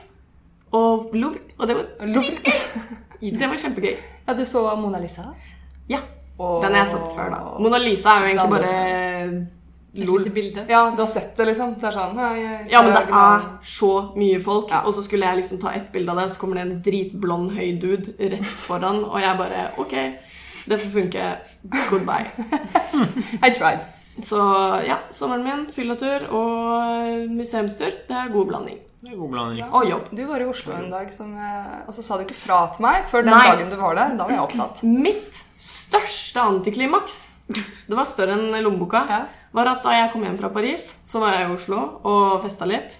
D: og Louvre, og det var
C: Louvre.
D: Det var kjempegøy.
C: Ja, du så Mona Lisa?
D: Ja.
C: Og...
D: Den har jeg sett før, da. Mona Lisa er jo egentlig
C: Den er
D: bare
A: Et
D: lol.
A: lite bilde.
C: Ja, du har sett det, liksom. Det er sånn ja, jeg-
D: Ja, men det
C: jeg-
D: er så mye folk,
C: Ja.
D: og så skulle jeg liksom ta ett bilde av det, så kommer det en dritblond, høy dude rett foran, og jeg bare OK, det får funke. Goodbye.
C: I tried.
D: Så ja, sommeren min, fyllatur og museumstur, det er god blanding.
B: Det er god blanding.
D: Og jobb.
C: Du var i Oslo en dag, som, eh, og så sa du ikke fra til meg før den
D: Nei.
C: dagen du var der. Da var jeg
D: (laughs)
C: opptatt.
D: Mitt største antiklimaks, det var større enn lommeboka,
C: Ja.
D: var at da jeg kom hjem fra Paris, så var jeg i Oslo og festa litt.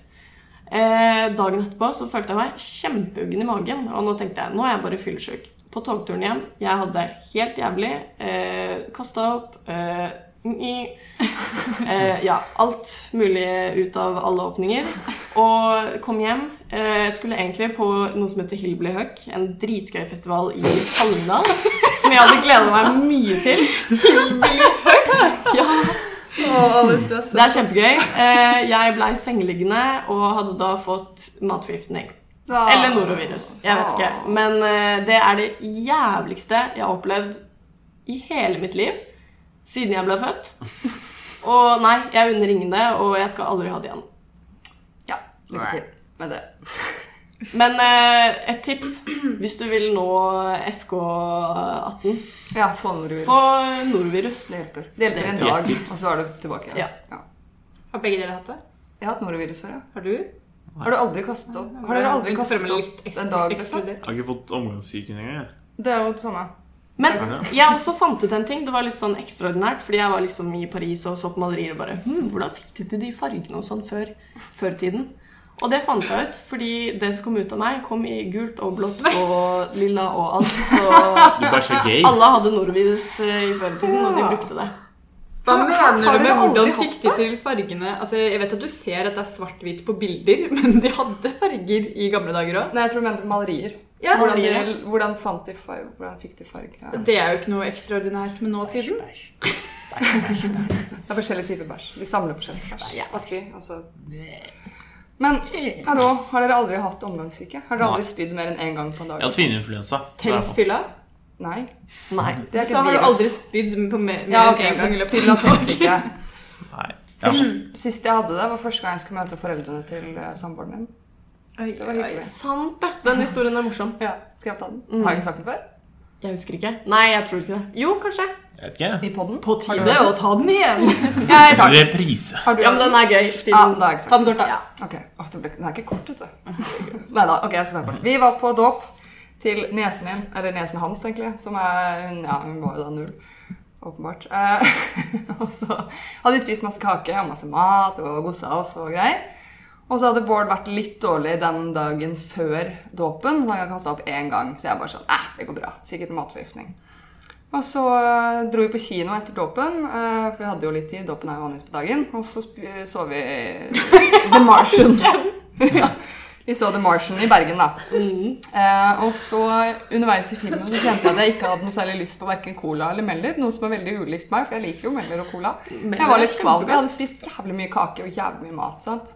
D: Eh, dagen etterpå så følte jeg meg kjempeugen i magen, og nå tenkte jeg nå er jeg bare fyllesyk. På togturen hjem, jeg hadde det helt jævlig. Eh, Kasta opp. Eh, i- eh, ja, alt mulig ut av alle åpninger. Og kom hjem. Eh, skulle egentlig på noe som heter Hillbilly Huck, en dritgøy festival i Hallingdal. Som jeg hadde gleda meg mye til. Hillbilly Huck? Ja.
C: alle stressa.
D: Det er kjempegøy. Eh, Jeg blei sengeliggende og hadde da fått matforgiftning.
C: Ah.
D: Eller norovirus. Jeg vet ikke. Men eh, det er det jævligste jeg har opplevd i hele mitt liv siden jeg ble født. Og nei, jeg unner ingen det, og jeg skal aldri ha det igjen.
C: Ja, lykke til med det.
D: Men eh, et tips hvis du vil nå SK18
C: Ja, fondrus.
D: Få norovirus.
C: Det hjelper. Det hjelper en
B: Det er
C: dag,
B: tips.
C: og så er du tilbake igjen.
D: Ja.
A: Har begge dere hatt det?
C: Jeg har hatt norovirus før, ja.
A: Har du?
C: Har du aldri kastet opp? Har dere aldri kastet opp en dag? Liksom?
B: Jeg har ikke fått omgangssyken engang. jeg.
A: Det er jo sånn,
D: Men
B: Ja.
D: jeg også fant ut en ting. Det var litt sånn ekstraordinært. Fordi jeg var liksom i Paris og så på malerier og bare hm, Hvordan fikk de til de fargene og sånn før, før tiden? Og det fant jeg ut, fordi det som kom ut av meg, kom i gult og blått og lilla og alt. Så
B: Du er bare så gay.
D: alle hadde norovirus eh, i førtiden, og de brukte det.
A: Hva
C: Har-
A: mener
C: har
A: du med
C: dere aldri
A: hvordan fikk
C: hatt
A: de til fargene? Altså, Jeg vet at du ser at det er svart-hvitt på bilder, (laughs) men de hadde farger i gamle dager òg.
C: Nei, jeg tror du mente malerier.
A: Ja,
C: hvordan, de,
D: malerier.
C: hvordan fant de farg? Hvordan fikk de farg? Ja.
A: Det er jo ikke noe ekstraordinært med nåtiden.
C: Det er forskjellige typer bæsj. De samler forskjellige bæsj.
D: Ja.
C: Og spy, og så Altså- Men hallo, har dere aldri hatt omgangssyke? Har dere aldri spydd mer enn én gang på en
B: Jeg har
C: dag?
B: svineinfluensa. Det har jeg sånn,
A: Tels
B: fått.
A: fylla.
C: Nei.
D: Nei.
C: Det er
A: Så har du
C: virus.
A: aldri spydd på mer mer
C: ja,
A: enn
C: ok,
A: én gang.
C: men
A: eller
C: (laughs)
A: på
C: fylla
A: en dag.
C: tålsyke.
B: Nei.
C: Mm.
B: Jeg har fått-
C: Sist jeg hadde det, var første gang jeg skulle møte foreldrene til eh, samboeren min.
A: Oi,
C: Det var hyggelig.
D: Sant det. Den historien er morsom.
C: Ja, Skal jeg ta den? Har jeg ikke sagt den før?
D: Jeg husker ikke. Nei, jeg tror ikke det. Jo, kanskje.
B: Jeg vet ikke.
C: I podden?
A: På tide å ta den igjen.
C: Jeg tar den.
B: Reprise.
C: Har du
D: Ja, men den er gøy.
C: Ja,
D: Siden
C: da har jeg ikke
A: Ta
C: sagt
A: den kort, da.
C: den. Ok, Åh, det ble... Den er ikke kort, vet du. (laughs) Neida, ok, jeg skal snakke kort. Vi var på dåp til nesen min, eller nesen hans egentlig, som er, hun, ja, hun var jo da null, åpenbart. Eh, (laughs) og så hadde vi spist masse kake og masse mat og gossa oss og greier. Og så hadde Bård vært litt dårlig den dagen før dåpen. Han hadde kastet opp én gang, så jeg bare sånn, eh, det går bra. Sikkert matforgiftning. Og så eh, dro vi på kino etter dåpen, eh, for vi hadde jo litt tid. Dåpen er jo vanligvis på dagen. Og så sp- eh, så vi (laughs) The Martian. (laughs) ja. Vi så The Martian i Bergen, da. Eh, og så underveis i filmen så kjente jeg at jeg ikke hadde noe særlig lyst på verken cola eller Meller. Noe som er veldig ulikt meg, for jeg liker jo Meller og cola. jeg var litt kvalm. Jeg hadde spist jævlig mye kake og jævlig mye mat. sant?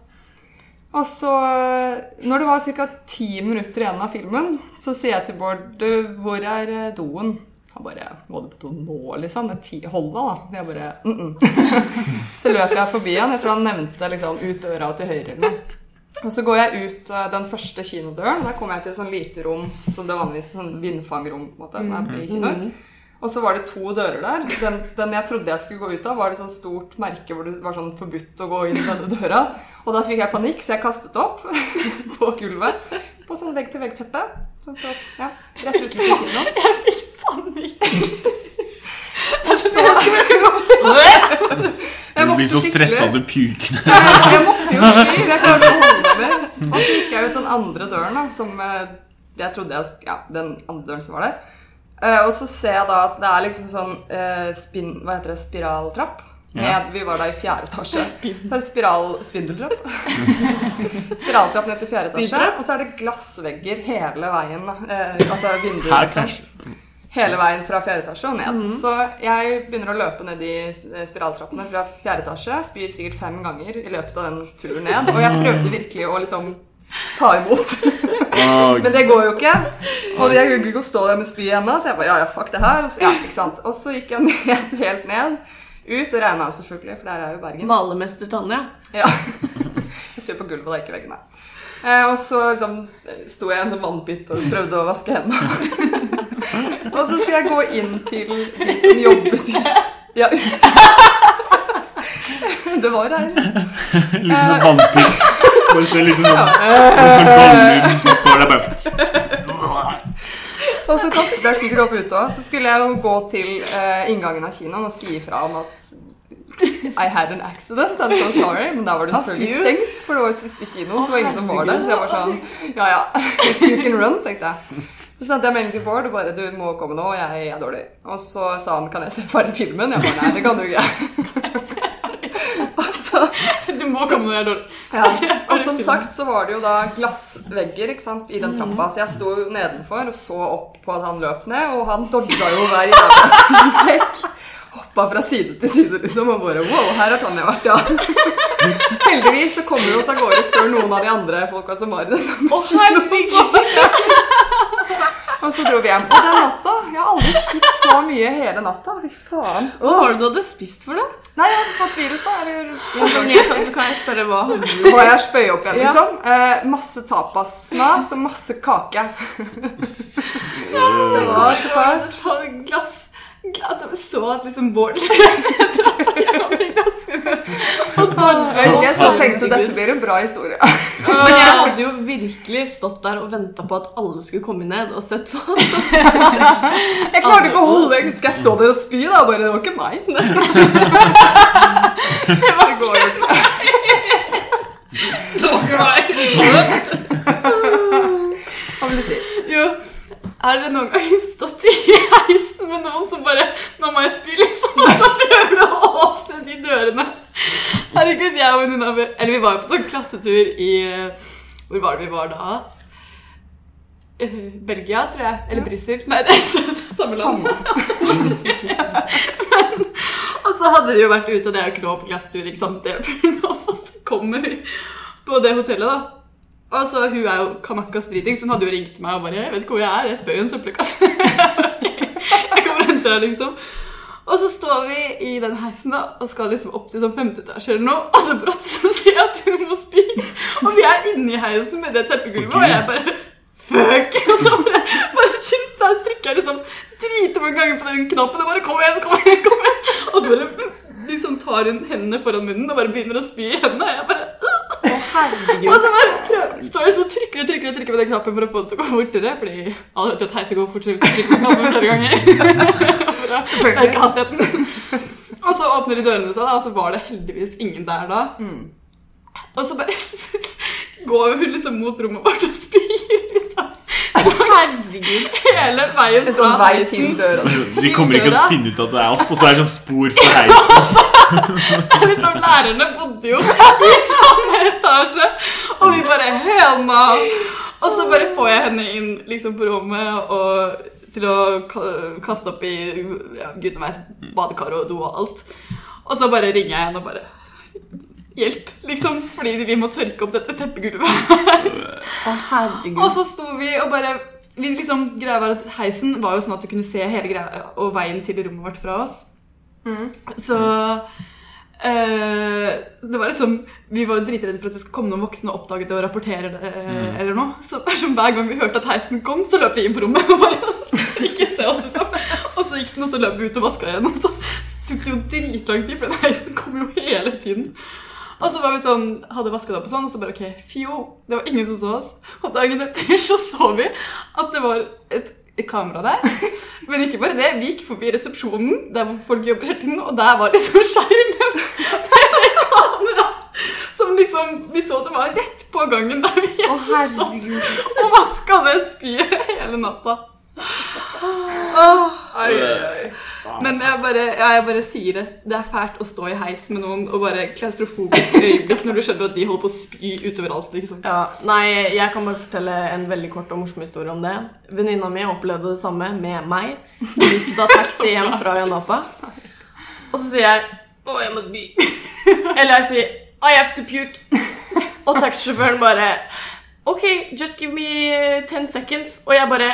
C: Og så, eh, når det var ca. ti minutter igjen av filmen, så sier jeg til Bård du, 'Hvor er eh, doen?' Han bare 'Må du på do nå, liksom?' Det er ti, Hold deg, da. Jeg bare mm -mm. (laughs) Så løp jeg forbi han. Jeg tror han nevnte liksom ut døra og til høyre eller noe. Og så går jeg ut eh, den første kinodøren. Der kommer jeg til et sånn lite rom som det vanligvis sånn vindfangrom på en måte, som er i kinoer. Og så var det to dører der. Den, den jeg trodde jeg skulle gå ut av, var det sånn stort merke hvor det var sånn forbudt å gå inn denne døra. Og da fikk jeg panikk, så jeg kastet opp (laughs) på gulvet. På sånn vegg-til-vegg-teppe. Sånn at, ja, rett utenfor kinoen.
D: Jeg fikk panikk.
C: Jeg
B: Du
C: måtte
B: blir så
C: skikkelig-
B: stressa du puker.
C: Jeg måtte jo si, jeg klarte å holde meg. Og så gikk jeg ut den andre døren, da, som eh, jeg trodde jeg sk- Ja, den andre døren som var der. Eh, og så ser jeg da at det er liksom sånn eh, spin, Hva heter det? Spiraltrapp? Ned,
B: Ja.
C: Vi var da i fjerde etasje. Så er det spiral... Spindeltrapp? Spiraltrapp ned til fjerde etasje. Og så er det glassvegger hele veien. da. Eh, altså vinduer.
B: Her
C: liksom.
B: krasjer
C: Hele veien fra fjerde etasje og ned. Så jeg begynner å løpe ned de eh, spiraltrappene fra fjerde etasje. Spyr sikkert fem ganger i løpet av den turen ned. Og jeg prøvde virkelig å liksom ta imot. (laughs)
B: Åh,
C: Men det går jo ikke. Og jeg kunne ikke stå der med spyet ennå, så jeg bare ja, ja, fuck det her. Og så, ja, ikke sant? og så gikk jeg (laughs) ned, helt ned. Ut og regna selvfølgelig, for der er jo Bergen.
D: Malermester Tanja.
C: Ja. (laughs) Jeg spyr på gulvet, det er ikke veggene. Eh, og så liksom, sto jeg i en sånn vannpytt og prøvde å vaske hendene. (laughs) og så skulle jeg gå inn til de som jobbet i Ja, ute. (laughs) det var her.
B: Litt sånn vannpikk. Bare se litt sånn Sånn Gollum som står der bare
C: Og så kastet jeg sikkert opp ute òg. Så skulle jeg jo gå til eh, inngangen av kinoen og si ifra om at I had an accident, I'm so sorry. Men da var det selvfølgelig
D: fy.
C: stengt, for det var jo siste kinoen. Så det var ingen som var der. Så jeg var sånn Ja ja, you can run, tenkte jeg. Så sendte jeg melding til Bård og bare Du må komme nå, jeg er dårlig. Og så sa han Kan jeg se ferdig filmen? Jeg bare Nei, det kan du ikke. Og så
A: Du må komme når det er dårlig.
C: ja. Og som sagt så var det jo da glassvegger ikke sant, i den trappa, så jeg sto jo nedenfor og så opp på at han løp ned, og han dodga jo hver jævla stivflekk. Opp hoppa fra side til side liksom, og bare Wow, her har Tanja vært, ja. Heldigvis så kommer vi oss av gårde før noen av de andre folka som var i denne maskinen. Og så dro vi hjem. Og den natta Jeg har aldri spydd så mye hele natta. Fy faen.
D: (laughs) Hva var det du hadde spist for noe?
C: Nei, jeg hadde fått virus, da. Eller
D: Ja, men jeg kan, kan jeg spørre hva hadde du
C: må jeg spøye opp igjen,
D: Ja.
C: liksom. Eh, masse tapasmat og masse
B: (laughs)
C: kake. Det var så fælt.
A: sånn glass At jeg så at liksom Bård (laughs)
C: Jeg husker jeg stod og tenkte (laughs) dette blir en bra historie.
D: Men jeg hadde jo virkelig stått der og venta på at alle skulle komme ned og sett hva (laughs) som
C: Jeg klarte ikke å holde det. Skal jeg stå der og spy, da? Bare, det var ikke meg. Det var ikke meg. Hva vil du si?
A: (laughs) Jo, er det noen gang stått i heisen med noen som bare Nå må jeg spy, liksom. Og så prøver du å åpne de dørene. Herregud, jeg og venninna mi Eller vi var jo på sånn klassetur i eh, Hvor var det vi var da? Eh, Belgia, tror jeg. Eller Brussel. Nei, det er samme land. Og så hadde de jo vært ute, og det er jo ikke lov på klassetur, ikke sant? Det (laughs) er fullt lov, og så kommer vi på det hotellet, da. Og så hun er jo kanakas driting, så hun hadde jo ringt meg og bare Jeg vet ikke hvor jeg er, jeg spør jo en søppelkasse. (laughs) jeg kommer og henter deg, liksom. Og så står vi i den heisen da, og skal liksom opp til sånn femte etasje eller noe, og så brått så sier jeg at hun må spy. Og vi er inni heisen med det teppegulvet, og jeg bare Fuck! Og så bare, bare skynd deg, trykker jeg liksom dritmange ganger på den knappen og bare Kom igjen, kom igjen, kom igjen! Og så bare liksom tar hun hendene foran munnen og bare begynner å spy i hendene. Og jeg bare og så bare prøver, står jeg og trykker og trykker og trykker på den knappen for å få det til å gå fortere. Fordi alle vet jo at heisen går fortere hvis du trykker på knappen flere
C: (laughs)
A: ganger. For å øke hastigheten. Og så åpner de dørene seg, da, og så var det heldigvis ingen der da.
C: Mm.
A: Og så bare (laughs) går hun liksom mot rommet vårt og spyr liksom
D: Herregud.
A: hele veien
C: En sånn
A: fra
C: vei
A: heisen.
C: til døra.
D: Sånn
B: De kommer ikke til å finne ut at det er oss, og så er det sånn spor fra heisen.
A: (laughs) liksom, lærerne bodde jo i samme etasje, og vi bare Helma! Og så bare får jeg henne inn liksom, på rommet og til å ka- kaste opp i ja, gudene vet, badekar og do og alt. Og så bare ringer jeg henne og bare Hjelp, liksom, fordi vi må tørke opp dette teppegulvet.
D: Å, herregud.
A: Og så sto vi og bare vi liksom, greia var at Heisen var jo sånn at du kunne se hele greia og veien til rommet vårt fra oss. Så eh, det var liksom Vi var jo dritredde for at det skulle komme noen voksne og oppdage det og rapportere det. eh, eller noe Så det var som Hver gang vi hørte at heisen kom, så løp vi inn på rommet. Og bare (laughs) ikke se oss liksom Og så gikk den, og så løp vi ut og vaska igjen. Og så tok det jo dritlang tid, for den heisen kom jo hele tiden. Og så var vi sånn, hadde vasket opp og sånn, og så bare ok, fjo, det var ingen som så oss. Og dagen etter så så vi at det var et et kamera der. Men ikke bare det, vi gikk forbi resepsjonen, der hvor folk jobber hele tiden, og der var liksom (laughs) skjermen med det kamera. Som liksom, vi så det var rett på gangen der vi
D: Å, herregud.
A: og vasket det spyet hele natta. Ah,
C: Oi, oi, oi.
A: Men jeg bare, ja, jeg bare sier det. Det er fælt å stå i heis med noen og bare klaustrofobisk øyeblikk når du skjønner at de holder på å spy utover alt. liksom.
D: Ja, nei, jeg kan bare fortelle en veldig kort og morsom historie om det. Venninna mi opplevde det samme med meg. Vi skulle ta taxi hjem fra Janapa. Og så sier jeg 'Å, jeg må spy'. Eller jeg sier 'I have to puke'. Og taxisjåføren bare 'OK, just give me ten seconds'. Og jeg bare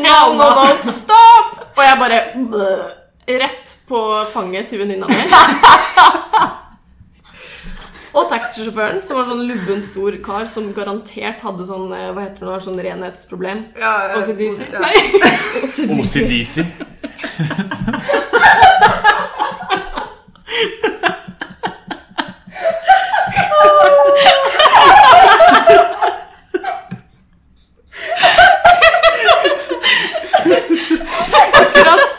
D: 'No, no, no, stop!' Og jeg bare «Bleh», Rett på fanget til venninna mi. Og taxisjåføren, som var sånn lubben, stor kar som garantert hadde sånn eh, hva heter det, nå, sånn renhetsproblem.
C: Ja, eh,
A: OCD.
C: ja.
B: OCDC.
D: Akkurat.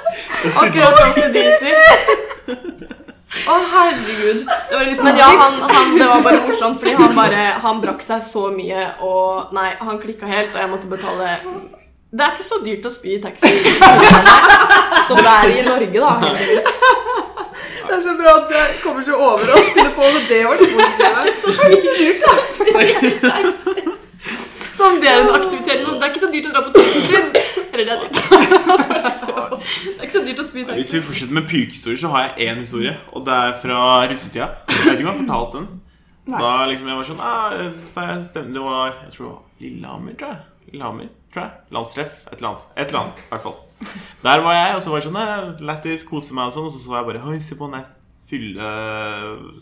D: Akkurat ACDC. Å, herregud. Det var litt Men ja, han, han, det var bare morsomt, fordi han bare Han brakk seg så mye, og nei, han klikka helt, og jeg måtte betale Det er ikke så dyrt å spy i taxi i Trondheim som det er i Norge, da, heldigvis.
C: Det er så bra at det kommer så overraskende på men det var det positive.
A: Sånn, det (laughs) er en aktivitet. Liksom. Det er ikke så dyrt å dra på turklubb. Eller det er dyrt. det er ikke så dyrt å spy taxi.
B: Hvis vi fortsetter med pykehistorier, så har jeg én historie. Og det er fra russetida. Jeg vet ikke om jeg har fortalt den. Da liksom jeg var sånn ah, da jeg stemte, Det var jeg tror det var Lillehammer, tror jeg. Lillehammer, tror jeg. Landstreff. Et eller annet. Et eller annet, i hvert fall. Der var jeg, og så var jeg sånn eh, Lættis, kose meg og sånn. Og så så jeg bare Oi, se på den der fylle...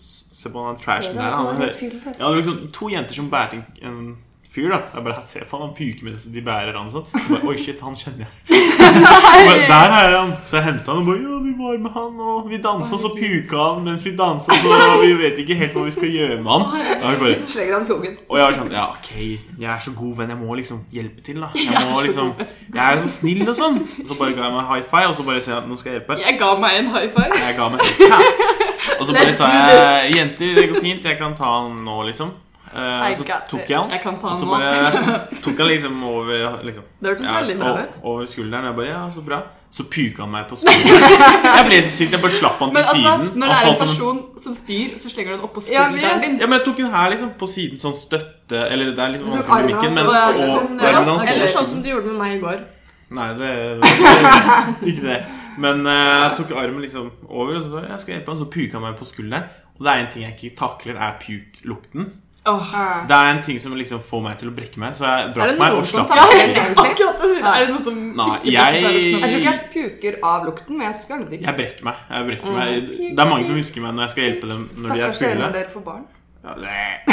B: Se på den
C: Ser
B: trashen
C: du
B: her.
C: at han
B: Han
C: er
B: hører
C: helt fyll, altså?
B: ja, det var liksom to jenter som bærte en, en fyr, da. Jeg bare Se faen, han puker mens de bærer han sånn. Så bare, Oi, shit, han kjenner jeg. Så bare, Der er han. Så jeg henta han og bare Ja, vi var med han, og vi dansa, og så puka han mens vi dansa, så vi vet ikke helt hva vi skal gjøre med han. Da er vi bare,
C: Slenger han skogen.
B: og jeg var sånn Ja, ok, jeg er så god venn, jeg må liksom hjelpe til, da. Jeg må liksom Jeg er så snill og sånn. Og så bare ga jeg meg high five, og så bare sier jeg at nå skal jeg hjelpe deg.
A: Jeg ga meg en high five.
B: Jeg ga meg helt Og så bare sa jeg Jenter, det går fint, jeg kan ta han nå, liksom. Eh,
C: I
B: og så
C: got
B: tok
C: this.
B: jeg han.
A: Jeg kan ta
B: Og så
A: den nå.
B: bare tok han liksom over liksom,
D: Det hørtes
B: ja,
D: veldig bra
B: o-
D: ut.
B: over skulderen. Jeg bare, ja, så bra Så puka han meg på skulderen. (laughs) Jeg ble så sint. Jeg bare slapp han til
A: Men altså,
B: siden.
A: når det
B: Han
A: er en
B: falt som en-
A: person som spyr, så slenger du den oppå
C: Jeg vet.
A: skulderen din.
B: ja, men jeg tok den her liksom på siden, sånn støtte Eller det er litt
C: tok
B: vanskelig med
C: armen
B: mikken,
C: hans
B: men altså-
C: og-
B: og,
C: men-
B: armen
C: Ja,
B: hans
D: Eller
B: og-
D: sånn som du gjorde med meg i går.
B: Nei, det, det (laughs) ikke det. Men eh, jeg tok armen liksom over, og så sa jeg, jeg skal hjelpe han, så puka han meg på skulderen. Og det er en ting jeg ikke takler, er puklukten.
A: Åh.
B: Det er en ting som liksom får meg til å brekke meg, så jeg
D: Er det
B: brakk meg
D: noen
B: og
D: som
B: slapp.
D: tar det egentlig?
A: Akkurat det sier jeg. Er det noe som
B: Nei,
A: ikke bryr seg
B: jeg-
A: litt
C: Jeg
A: med
C: tror ikke jeg puker av lukten, men jeg skjelver ikke.
B: Jeg brekker meg. jeg
D: Mm.
B: brekker meg Det er mange som husker meg når jeg skal hjelpe dem når de er
C: Stakkars dere
B: fulle.
C: når dere får barn.
B: Ja, det-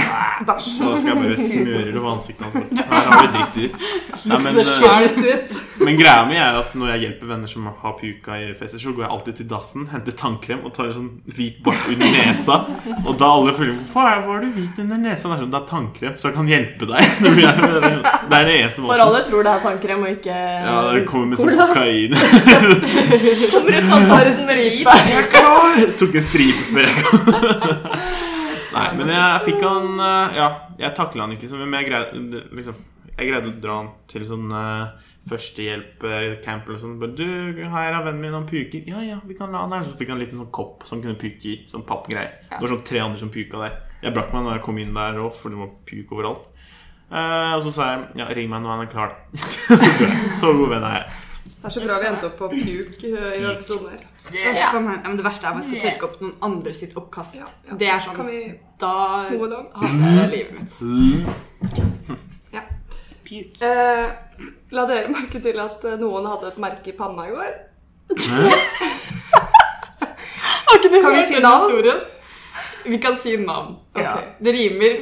C: Bæsj.
B: Så skal jeg
C: (laughs)
B: bare smøre det på ansiktet hans. Her har vi dritt i. Nei, men, eh,
A: Skjælest ut.
B: Men greia mi er at når jeg hjelper venner som har puka i fester, så går jeg alltid til dassen, henter tannkrem og tar en sånn hvit bart under nesa. Og da alle føler Hvorfor er- hvorfor har du hvit under nesa? Det er sånn, det er tannkrem, så jeg kan hjelpe deg. (laughs) Så blir jeg- Det er sånn- det er den eneste
D: For
B: måten.
D: alle tror det er tannkrem og ikke
B: Ja, det kommer med sånn
D: Cola.
A: (laughs)
B: kokain.
D: Kommer ut sånn tassen med hvit.
B: Jeg (laughs) tok en stripe før jeg kom. (laughs) Nei, men jeg fikk han eh, Ja, jeg takla han ikke så mye, men jeg greide, liksom, jeg greide å dra han til sånn eh, førstehjelp-camp eller sånn. Bare, 'Du, her er vennen min, han puker.' 'Ja, ja, vi kan la han her.' Så fikk han en liten sånn kopp som kunne puke i. Sånn pappgreie. Det var sånn tre andre som puka der. Jeg brakk meg når jeg kom inn der òg, for det var puk overalt. Eh, og så sa jeg 'Ja, ring meg når han er klar', (laughs) da. så tror jeg. Så god venn er jeg.
C: Det er så bra vi endte opp på puk eh, i denne episoden her.
A: Ja, men det verste er om jeg skal tørke opp noen andre sitt oppkast.
C: Ja, ja.
A: Det er sånn
C: Kan vi
A: Da
C: move along?
A: hater jeg livet mitt.
C: Ja. Eh, la dere merke til at eh, noen hadde et merke i panna i går?
A: Kan vi
C: hørt
A: si
C: den
A: navn? Vi kan si navn.
C: Ok.
D: Ja.
A: Det rimer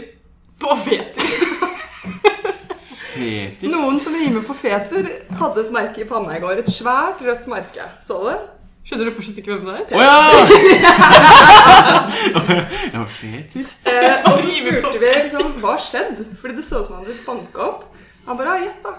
A: på feter.
B: Feter.
C: Noen som rimer på feter, hadde et merke i panna i går. Et svært rødt merke. Så du?
A: Skjønner du fortsatt ikke hvem det er?
B: Å (laughs) ja! Jeg var feter.
C: Eh, og så
A: Rimer på
C: spurte vi liksom, hva skjedde? Fordi det så ut som han hadde blitt banka opp. Han bare ja, gjett, da.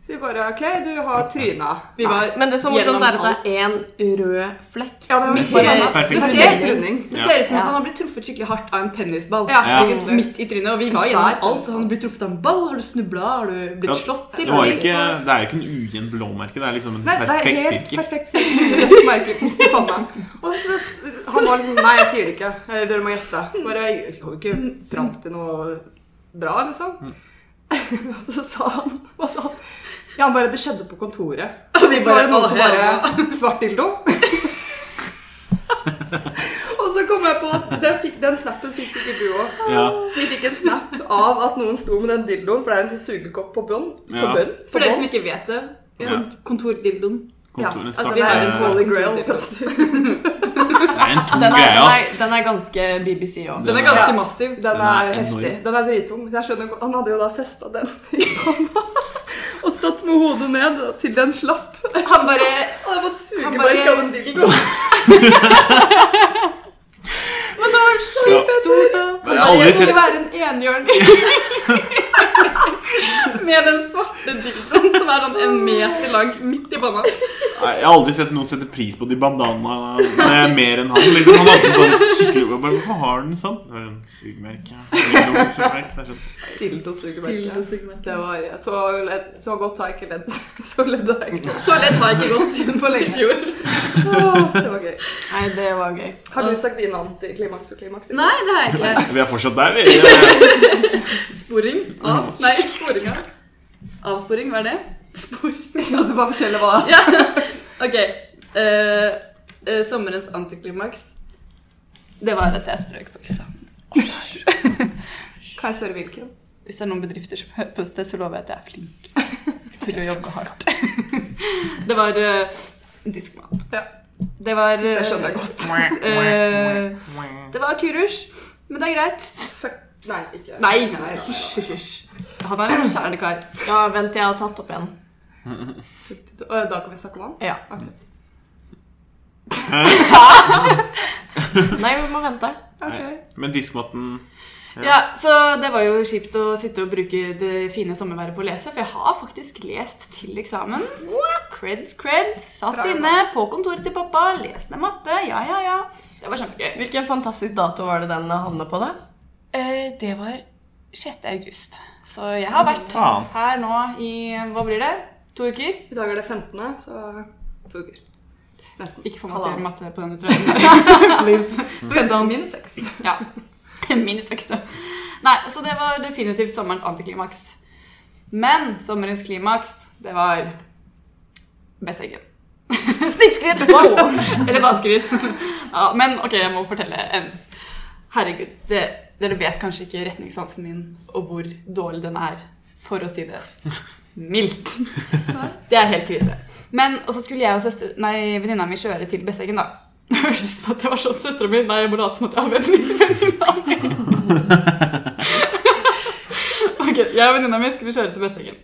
C: Så vi bare OK, du har tryna.
A: Vi var
D: Men det som er morsomt, er
A: Gjennom
D: at det er én rød flekk.
C: Ja, det var
B: Midt
C: midt
B: i
C: i panna.
B: perfekt.
C: Det ser helt runding.
A: Det
B: Ja.
A: ser ut som
D: Ja.
A: at han har blitt truffet skikkelig hardt av en tennisball.
C: Ja,
B: Ja.
C: egentlig.
A: Midt i trynet. Og vi var
C: En
A: gjennom
C: svær
A: alt. Så han har blitt truffet av en ball. Har du snubla? Har du
B: Ja,
A: blitt slått
B: Det,
A: til?
B: var jo ikke, det er jo ikke en ujevn blåmerke. Det er liksom en
C: Nei, det er
B: perfekt
C: helt
B: sirkel.
C: perfekt sirkel. Rett merke på panna. Og så, han var liksom Nei, jeg sier det ikke. Eller dere må gjette. Så bare Jeg kom jo ikke fram til noe bra, liksom. (laughs) Og så sa han Hva sa han? Ja, han bare Det skjedde på kontoret. Og
A: vi
C: så var
A: bare,
C: det noen som
A: «Å,
C: bare Svart dildo. Og så kom jeg på at den, fikk, den snappen fikk sikkert du òg.
B: Ja.
C: Vi fikk en snap av at noen sto med den dildoen, for det er en sånn sugekopp på bånn. På
B: Ja.
C: bånn.
A: For dere som ikke vet det.
B: Ja.
A: kont- Kontordildoen.
B: Kontorene
C: at
B: svarte
C: altså, det er en
B: Det
C: holy grail. Pepsi.
B: er en tung
D: Den er,
B: greie,
D: den er,
B: ass.
D: den er ganske BBC òg.
A: Den
B: Den
A: er
B: er-
A: ganske massiv.
C: Den
B: Den er
C: er heftig.
B: enorm.
C: Den er drittung. Så jeg skjønner godt- Han hadde jo da festa den (laughs) i hånda og stått med hodet ned til den slapp.
A: Han bare
C: Han hadde fått
A: Han
C: sugemerke av en (laughs) dildo.
A: bare
B: Ja.
A: Stort, da.
B: Men jeg har aldri
A: Jeg skulle
B: sett-
A: være en
B: (laughs)
A: enhjørning. Med den svarte dildoen som er sånn en meter lang midt i panna.
B: Nei, Jeg har aldri sett noen sette pris på de bandanaene mer enn han. Liksom, han hadde en sånn skikkelig jeg bare, Hvorfor har den sånn? Det er en Sugemerke. Sugemerke. Det er sånn.
C: Dildosugemerke.
A: Det
C: Det
A: var
C: var så, ledd, så godt har jeg ikke ledd. (laughs) Så ledd har jeg ikke ledd
A: Så lett var jeg ikke gått siden
C: på
A: i
C: lenge.
A: fjor.
C: Åh, det var gøy.
D: Nei, det var gøy.
C: Har du sagt din antiklimaks og klimaks?
A: Nei, det har jeg ikke.
B: Vi er fortsatt der, vi.
A: Sporing av Nei, sporing av. Avsporing, hva er det? Sporing. (laughs)
C: Kan du bare fortelle hva
A: Ja. Ok. Eh, eh, sommerens antiklimaks, det var at jeg strøk på eksamen.
C: Kan jeg spørre hvilken?
A: Hvis det er noen bedrifter som hører på dette, så lover jeg at jeg er flink (laughs) til å jobbe hardt. Det var eh, diskmat.
C: Ja.
A: Det var eh,
C: Det skjønner jeg godt.
A: eh, det var kurers, men det er greit.
C: Fuck. Nei, ikke
A: Nei, nei, hysj, hysj, hysj. Han er en kjærlig kar.
D: Ja, vent til jeg har tatt opp igjen.
C: Å, Da kan vi snakke om han?
A: (laughs)
D: Ja. Nei, vi må vente.
B: Nei. Men diskmatten
A: Ja, så det var jo kjipt å sitte og bruke det fine sommerværet på å lese, for jeg har faktisk lest til eksamen. Creds, creds. Satt
C: Bra jobba.
A: inne på kontoret til pappa, leste matte. Ja, ja, ja. Det var kjempegøy.
D: Hvilken fantastisk dato var det den havna på, da?
A: Eh, Det var 6. august. Så jeg har vært
B: Faen.
A: her nå i Hva blir det? To uker?
C: I dag er det 15., så to uker. Nesten.
A: Ikke få meg til å
C: Halvannen.
A: gjøre matte på denne trøyen. Please. Vent om
C: Minus seks.
A: (laughs) Ja. Minus ekstra. Nei, så det var definitivt sommerens antiklimaks. Men sommerens klimaks, det var Besseggen. (laughs) Snikskryt! Eller badeskryt. (laughs) Ja, men ok, jeg må fortelle en Herregud, det, dere vet kanskje ikke retningssansen min og hvor dårlig den er, for å si det mildt. Det er helt krise. Men, og så skulle jeg og søster, nei, venninna mi kjøre til Besseggen, da. Det høres ut som at jeg var sånn søstera mi. Nei, jeg må late som at jeg har venninna mi. ok, jeg og venninna mi skulle kjøre til Besseggen.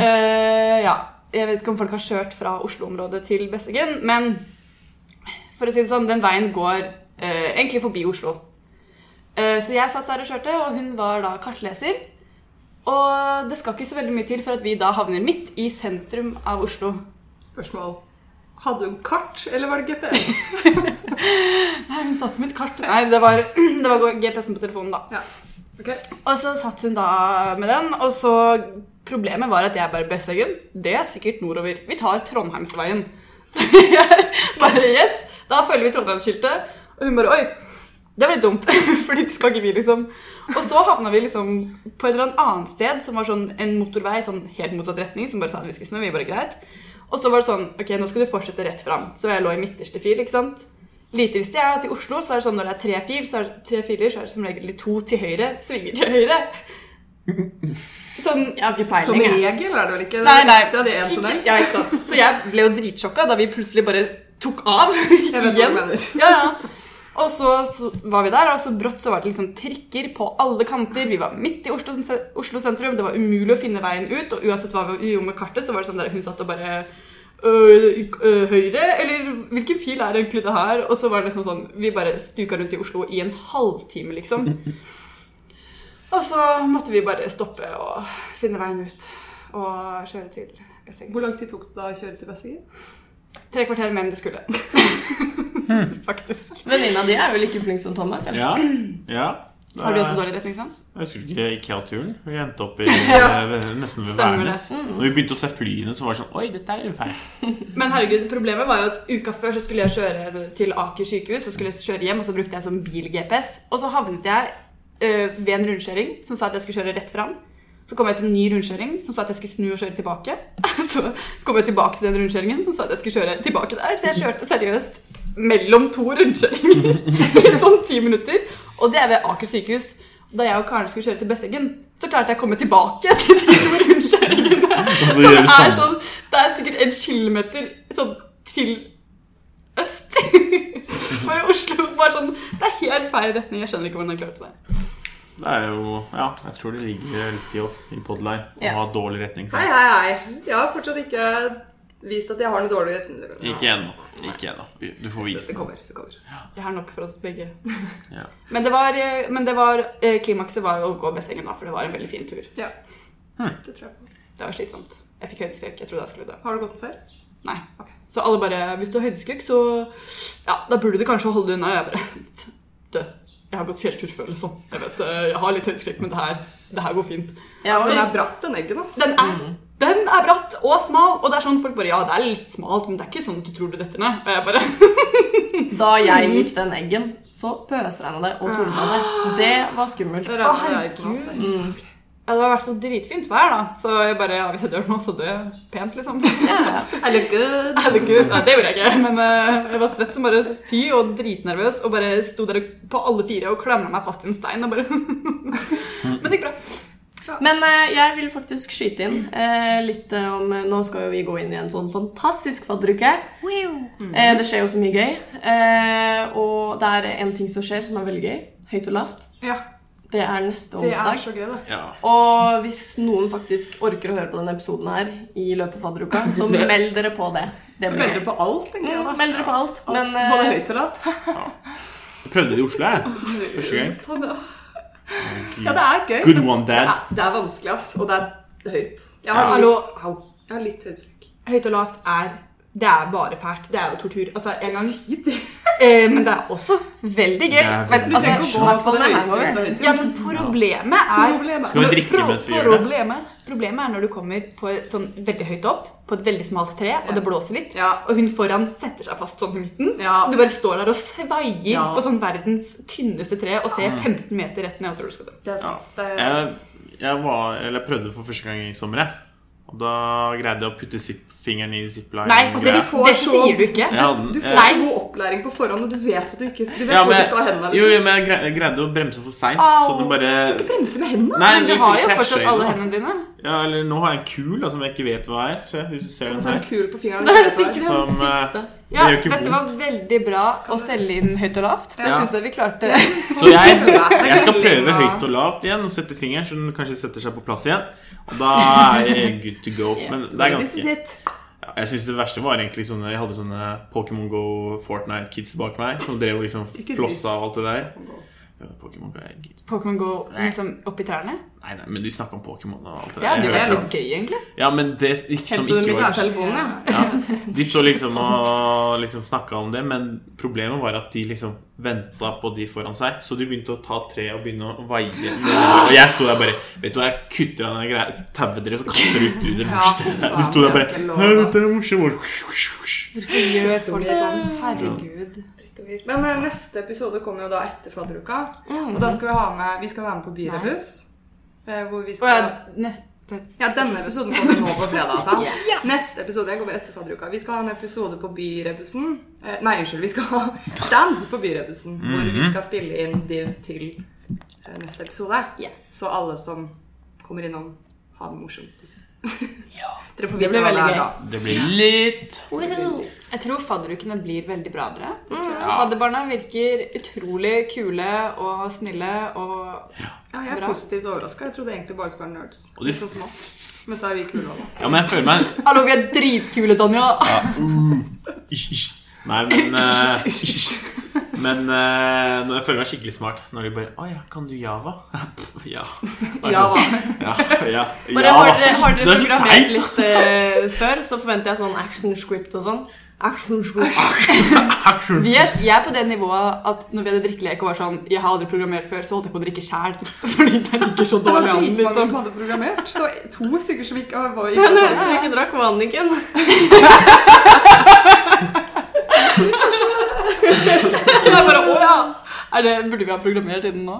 A: Eh, ja. Jeg vet ikke om folk har kjørt fra Oslo-området til Besseggen, men for å si det sånn, den veien går eh, egentlig forbi Oslo. Eh, så jeg satt der og kjørte, og hun var da kartleser. Og det skal ikke så veldig mye til for at vi da havner midt i sentrum av Oslo.
C: Spørsmål. Hadde hun kart, eller var det GPS?
A: Nei, hun satt med et kart. Nei, det var, (clears throat) det var GPS-en på telefonen, da.
C: Ja. Ok.
A: Og så satt hun da med den, og så Problemet var at jeg bare Besseggen, det er sikkert nordover. Vi tar Trondheimsveien. Så jeg bare Yes! Da følger vi Trondheimsskiltet. Og hun bare Oi! Det var litt dumt, (laughs) fordi det skal ikke vi, liksom. Og så havna vi liksom på et eller annet sted som var sånn en motorvei sånn helt motsatt retning, som bare sa at vi skulle snu. Vi bare greit. Og så var det sånn Ok, nå skal du fortsette rett fram. Så jeg lå i midterste fil, ikke sant. Lite visste jeg at i Oslo så er det sånn når det er tre, fil, så er det tre filer, så er det som regel to til høyre. Svinger til høyre.
C: (laughs)
A: Sånn,
D: Jeg har ikke
C: Som
D: peiling. jeg.
C: regel er det vel ikke?
A: Nei, nei.
C: Det er det en tunnel.
A: ja, ikke sant? Så jeg ble jo dritsjokka da vi plutselig bare tok av (laughs)
C: Jeg vet hva
A: igjen.
C: du mener.
A: Ja, ja. Og så, så var vi der, og så brått så var det liksom trikker på alle kanter. Vi var midt i Oslo, Oslo sentrum, det var umulig å finne veien ut. Og uansett hva vi gjorde med kartet, så var det sånn der hun satt og bare «Øh, øh, Høyre? Eller hvilken fil er egentlig det her? Og så var det liksom sånn Vi bare stuka rundt i Oslo i en halvtime,
C: (laughs)
A: liksom. Og så måtte vi bare stoppe og finne veien ut og kjøre til Besseggen.
C: Hvor lang tid tok det da å kjøre til Bessingen?
A: Tre kvarter mer enn det skulle. (laughs) Faktisk.
D: Venninna di er jo like flink som Thomas. Ja.
B: Ja. ja.
A: Har du også dårlig retningssans?
B: Jeg husker ikke IKEA-turen. Vi endte opp i, eh, nesten ved
A: Stemmer
B: Værnes. Når vi begynte å se flyene, så var det sånn Oi, dette er feil.
A: Men herregud, problemet var jo at uka før så skulle jeg kjøre til Aker sykehus, så skulle jeg kjøre hjem, og så brukte jeg som bil-GPS. Og så havnet jeg øh, ved en rundkjøring som sa at jeg skulle kjøre rett fram. Så kom jeg til en ny rundkjøring som sa at jeg skulle snu og kjøre tilbake. (laughs) Så kom jeg tilbake til den rundkjøringen som sa at jeg skulle kjøre tilbake der. Så jeg kjørte seriøst mellom to rundkjøringer (laughs) i sånn ti minutter. Og det er ved Aker sykehus. Da jeg og Karen skulle kjøre til Besseggen, så klarte jeg å komme tilbake (laughs) til de to rundkjøringene.
B: Og så
A: Som
B: gjør vi
A: er
B: sånn.
A: sånn Det er sikkert en kilometer sånn til øst (laughs) for Oslo. Bare sånn Det er helt feil retning. Jeg skjønner ikke hvordan jeg klarte det.
B: Det er jo Ja, jeg tror det ligger litt i oss i Podline å
D: Ja.
B: ha dårlig retning.
C: Hei, hei, hei. Jeg har fortsatt ikke vist at jeg har noe dårlig
B: Ikke ennå. Ikke ennå. Vi- Du får vise.
C: Det kommer. det kommer.
A: Jeg har nok for oss begge.
B: Ja.
A: Men det var, eh, men det var eh, klimakset var jo å gå Bessengen, da, for det var en veldig fin tur.
C: Ja. Det tror jeg på.
A: Det var slitsomt. Jeg fikk høydeskrekk. Jeg trodde jeg skulle dø.
C: Har du gått den før?
A: Nei.
C: Ok.
A: Så alle bare Hvis du har høydeskrekk, så Ja, da burde du kanskje holde deg unna. Og jeg bare (laughs) Dø. Jeg har gått fjelltur før, liksom. Jeg vet, eh, jeg har litt høydeskrekk, men det her, det her går fint.
D: Ja,
C: Den
D: og-
C: er bratt, den eggen, ass.
A: Den er, den er bratt og smal. Og det er sånn folk bare Ja, det er litt smalt, men det er ikke sånn at du tror du detter ned. Og jeg bare
D: Da jeg gikk den eggen, så pøsregna det og torna det. Det var skummelt.
A: Mm.
C: Det er- det er ikke noe.
A: Ja, det var i hvert fall dritfint vær, da. Så jeg bare ja, hvis jeg dør nå, så dør jeg pent, liksom.
C: I look good.
A: (laughs) Herregud, nei, det gjorde jeg ikke. Men eh, jeg var svett som bare fy og dritnervøs. Og bare sto der på alle fire og klamra meg fast i en stein og bare (laughs) Men det gikk bra.
D: Men eh, jeg vil faktisk skyte inn eh, litt eh, om eh, Nå skal jo vi gå inn i en sånn fantastisk fadderuke.
C: Mm.
D: Eh, det skjer jo så mye gøy. Eh, og det er en ting som skjer som er veldig gøy. Høyt og lavt.
C: Ja,
D: Det er neste
C: det er
D: onsdag.
C: så gøy, da.
B: Ja.
D: Og hvis noen faktisk orker å høre på denne episoden her i løpet av fadderuka,
C: (laughs)
D: så meld dere på det. Det blir
C: Veldig
D: gøy.
C: på alt, tenker jeg
D: Mm,
C: da.
D: Meld dere på alt. Men eh,
C: Både høyt og lavt.
B: Jeg prøvde det i Oslo, jeg. Første gang.
C: Ja, det er gøy.
B: Good
C: men
B: one,
C: Det
B: dad.
C: er, det er vanskelig, ass. Og det er høyt. Jeg
B: Ja.
C: har
A: Hallo.
C: litt, au, jeg har litt høytstrykk.
A: Høyt og lavt er Det er bare fælt. Det er jo tortur. Altså, en gang.
C: Si det.
A: Eh, men det er også veldig gøy.
B: Det er
A: Vet du,
C: Du trenger
A: altså,
C: ikke å gå for det høyeste.
A: ja, men problemet er
C: Problemet.
B: Skal vi drikke mens vi gjør det?
A: Problemet, problemet er når du kommer på et sånn veldig høyt opp, på et veldig smalt tre, og det blåser litt,
C: Ja.
A: og hun foran setter seg fast sånn i midten.
C: Ja.
A: Så du bare står der og sveier
C: Ja.
A: på sånn verdens tynneste tre og ser 15 meter rett ned og tror du skal dø.
C: Det er sant. Det er,
B: Jeg, jeg, var, eller jeg prøvde det for første gang i sommer, jeg. Og da greide jeg å putte zip, fingeren i zipline.
A: Nei, altså, det,
C: Du får
A: det
C: så-
A: sier du ikke.
B: Jeg hadde den-
C: du får
B: jeg-
C: så god opplæring på forhånd, og du vet at du ikke Du vet
B: Ja,
C: hvor
B: men,
C: du skal ha hendene.
B: jo,
C: Liksom.
B: jo, men jeg grei- jeg greide å bremse for seint.
A: Au.
B: Så den bare
C: Du skal ikke bremse med hendene.
B: Eh, Nei,
A: Men du
B: hvis
A: har
B: ikke
A: jo
B: krasjer
A: fortsatt
B: i
A: alle hendene
B: den.
A: dine.
B: Ja, eller nå har jeg en kul da, som jeg ikke vet hva er. Se, hvis du ser den
C: Sånn
B: her.
C: kul på fingeren.
D: det er sikkert
B: Som,
D: den siste.
A: Ja,
B: gjør ikke
A: dette var veldig bra å selge inn høyt og lavt. Det
B: Ja.
A: synes jeg vi klarte.
B: Så
A: (laughs)
B: jeg,
C: Det
B: jeg skal
C: kan
B: prøve
C: ligne-
B: høyt og lavt igjen og sette fingeren, så den kanskje setter seg på plass igjen. Og da er jeg good to
A: (laughs)
B: go. Men det er
C: This is
B: ganske
C: it.
B: Ja, Jeg synes det verste var egentlig sånne Jeg hadde sånne Pokémon Go Fortnite-kids bak meg som drev og liksom
C: Ikke
B: flossa av alt det der.
C: Go.
B: Ja, Pokémon Go er gid.
A: Pokémon Go liksom opp i trærne.
B: Nei, nei, men de snakka om Pokémon og alt det
A: Det hadde jo
B: Jeg
A: vært
B: hørte
A: litt gøy, egentlig. liksom
B: om- Ja, men det ikke, som
D: Hentet du
B: ikke
D: mista
B: var
D: telefonen, ja?
B: De så liksom og liksom snakka om det, men problemet var at de liksom venta på de foran seg. Så de begynte å ta tre og begynne å veie. nedover. Og jeg sto der bare Vet du hva, jeg kutter av den greia. Tauer dere, så kaster dere ut ut dere først. Vi sto der
C: det er
B: bare
C: ikke lov,
B: Hæ,
C: ass.
B: dette er morsomt.
A: Hvorfor gjør folk sånn? Herregud.
C: Drittungvir. Men eh, neste episode kommer jo da etter fadderuka.
D: Mm.
C: Og da skal vi ha med Vi skal være med på Byrebus. eh, Hvor vi
A: Og
C: skal
A: neste
C: Ja, denne episoden kommer nå på fredag, altså.
D: (laughs)
C: Neste episode jeg kommer etter fadderuka. Vi skal ha en episode på Byrebussen. Eh, nei, unnskyld. Vi skal ha stand på Byrebussen, hvor
B: Mhm.
C: vi skal spille inn div til eh, neste episode. Så alle som kommer innom, har det morsomt. å se. (laughs) Dere får
D: Det
C: vite
D: blir
C: hva det
D: veldig
C: er
D: gøy.
C: da.
B: Det blir litt
A: Jeg tror fadderukene blir veldig bra, dere. Fadderbarna virker utrolig kule og snille og
C: Ja, jeg er
A: Bra.
C: positivt overraska. Jeg trodde egentlig bare det skulle være nerds.
B: Og de-
C: Sånn som oss. Men så er vi kule òg.
B: Ja, men jeg føler meg
A: Hallo, vi er dritkule, Tanja!
B: Ish, ish. Nei, men eh, Men eh, når jeg føler meg skikkelig smart når de bare Å ja, kan du Java? (laughs) Pff, ja.
C: Java.
B: Ja, ja,
D: Bare har dere,
B: (laughs)
D: har
B: Det
D: dere
B: er så
D: programmert
B: teit.
D: litt eh, før, så forventer jeg sånn action script og sånn. Action script.
B: Action.
A: Vi er, jeg er på det nivået at når vi hadde drikkelek og var sånn Jeg har aldri programmert før, så holdt jeg på å drikke sjæl. (laughs) Fordi det ligger så
C: Det var
A: dårlig an.
C: dritmange
A: Liksom.
C: som hadde programmert. Det var to stykker som ikke
A: (laughs)
C: var
D: Det
C: ikke
D: høres ut som jeg ikke drakk vanniken.
A: Jeg bare, å ja. Er det, burde vi ha programmert innen nå?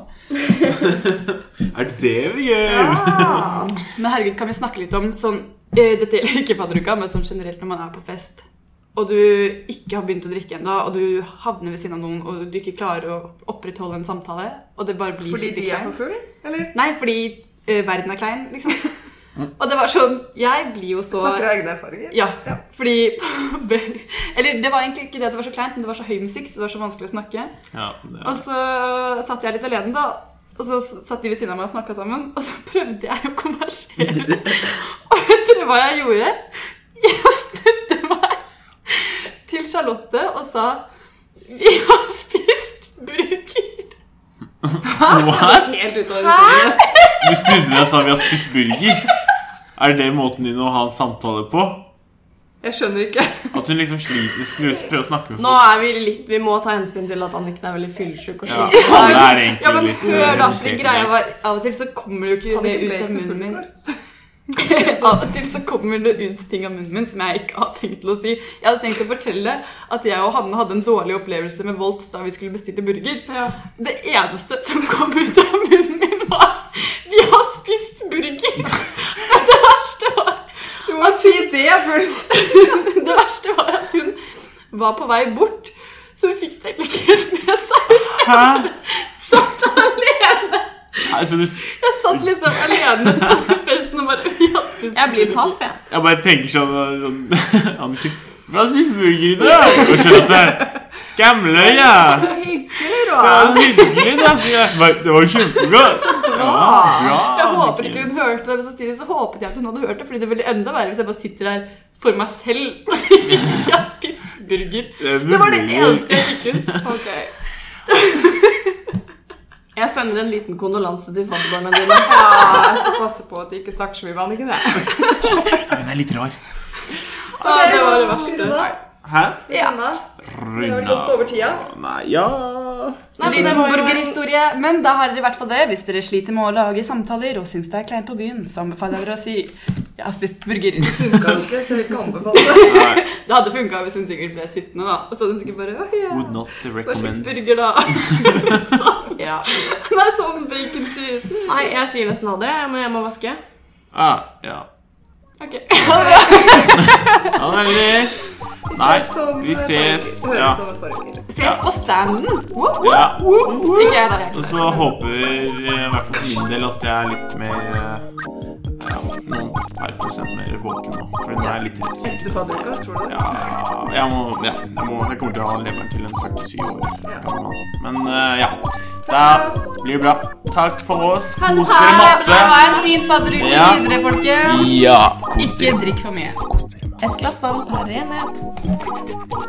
B: Er det det vi gjør?
C: Ah,
A: Men herregud, kan vi snakke litt om sånn eh, Dette gjelder ikke fadderuka, men sånn generelt når man er på fest, og du ikke har begynt å drikke ennå, og du havner ved siden av noen, og du ikke klarer å opprettholde en samtale, og det bare blir
C: fordi de
A: skikkelig
C: er
A: klein.
C: for full? Eller
A: Nei, fordi eh, verden er klein, liksom. Og det var sånn Jeg blir jo så
C: snakker av egne erfaringer?
A: ja,
C: Ja.
A: fordi (laughs) Eller det var egentlig ikke det at det var så kleint, men det var så høy musikk, så det var så vanskelig å snakke.
B: Ja, det (laughs)
A: Og så satt jeg litt alene, da. Og så satt de ved siden av meg og snakka sammen. Og så prøvde jeg å konversere. Og vet dere hva jeg gjorde? Jeg snudde meg til Charlotte og sa Vi har spist burger.
B: What?
C: Helt ut av det.
B: Du snudde deg og sa vi har spist burger. Er det måten din å ha en samtale på?
C: Jeg skjønner ikke.
B: At hun liksom sliter skulle prøve å snakke med
D: Nå
B: folk?
D: er vi litt Vi må ta hensyn til at Anniken er veldig fyllesyk og
B: Ja,
D: sliten.
B: alle er egentlig
A: Ja, men
B: litt eh,
A: hør da, fordi
B: redusert i
A: greia
B: dag.
A: var Av og til så kommer det jo ikke
C: Hadde
A: det
C: ikke
A: ut
C: blitt
A: av
C: til full
A: munnen min.
C: før.
A: (laughs) Av og til så kommer det ut ting av munnen min som jeg ikke har tenkt til å si. Jeg hadde tenkt å fortelle at jeg og Hanne hadde en dårlig opplevelse med Volt da vi skulle bestille burger.
C: Ja.
A: Det eneste som kom ut av munnen min, var Vi har spist burger!
C: det før du
A: (laughs) Det verste var at hun var på vei bort, så hun fikk det egentlig ikke helt med seg.
B: Hæ?
A: Satt alene.
B: Nei, så du, s-
A: Jeg satt liksom alene på festen og bare vi har spist
D: Jeg blir paff, jeg.
B: jeg bare tenker sånn, sånn (laughs) Anniken Hva spiser burger i dag? Og skjønner at det Skamløy, ja!
C: Så hyggelig,
B: Så
C: da!
B: hyggelig, da! sier jeg. Bare, Det var kjempegodt!
C: Bra!
A: Jeg håper ikke hun hørte det, men samtidig så håpet jeg at hun hadde hørt det. Fordi det ville enda verre hvis jeg bare sitter her for meg selv (laughs) og sier jeg har spist burger. Det var det eneste jeg fikk (laughs) ut.
D: Ok. Jeg sender en liten kondolanse til fadderbarna dine.
C: Ja, jeg skal passe på at de ikke snakker så mye med Anniken. jeg.
B: Hun er litt rar.
A: Ja, det var det verste.
B: Hæ?
C: Skal vi runde av? Vi har vel gått over tida.
B: Nei, ja
A: Nei, men
D: Det
A: det
D: var jo en-
A: burgerhistorie. Men da har dere i hvert fall det. Hvis dere sliter med å lage samtaler og syns det er kleint på byen, så anbefaler jeg dere å si 'jeg har spist burger'.
C: Funka jo ikke, så jeg vil ikke anbefale det.
B: Nei,
A: (laughs) Det hadde funka hvis hun sikkert ble sittende, da. Og så hadde hun sikkert bare «Å, ja,
B: Would not
A: Hva slags
B: recommend.
A: burger, da?
D: Ja.
A: (laughs) Nei, sånn bacon cheese.
D: Nei, jeg sier nesten ha det, men jeg må vaske.
B: Ah, ja.
A: Ok.
B: Ha det, Agnes.
C: Vi
B: Nei,
C: ses om
B: vi
C: et par
B: ses,
C: uker.
B: ja.
C: Høres om et par uker.
A: Ses på standen. Woo, woo,
B: Ja.
A: woo, woo. Ikke jeg, da. Jeg er
B: Og
A: ikke
B: så håper eh, i hvert fall for min del at jeg er litt mer eh, ja, noen par prosent mer våken nå. For den er litt redusert.
C: Etter fadderuka, tror du?
B: Ja, jeg, må, ja jeg, må, jeg kommer til å ha leveren til en 47 år gammel mann. Men eh, ja. Da
C: Takk for oss.
B: blir det bra. Takk for oss.
A: Ha det
B: Kos
A: bra.
B: dere masse.
A: Ha en fin fadderuke
B: Ja.
A: videre, folkens.
E: Ja, kos
A: Ikke
E: dere.
A: drikk for mye.
D: Et glass vann per enhet.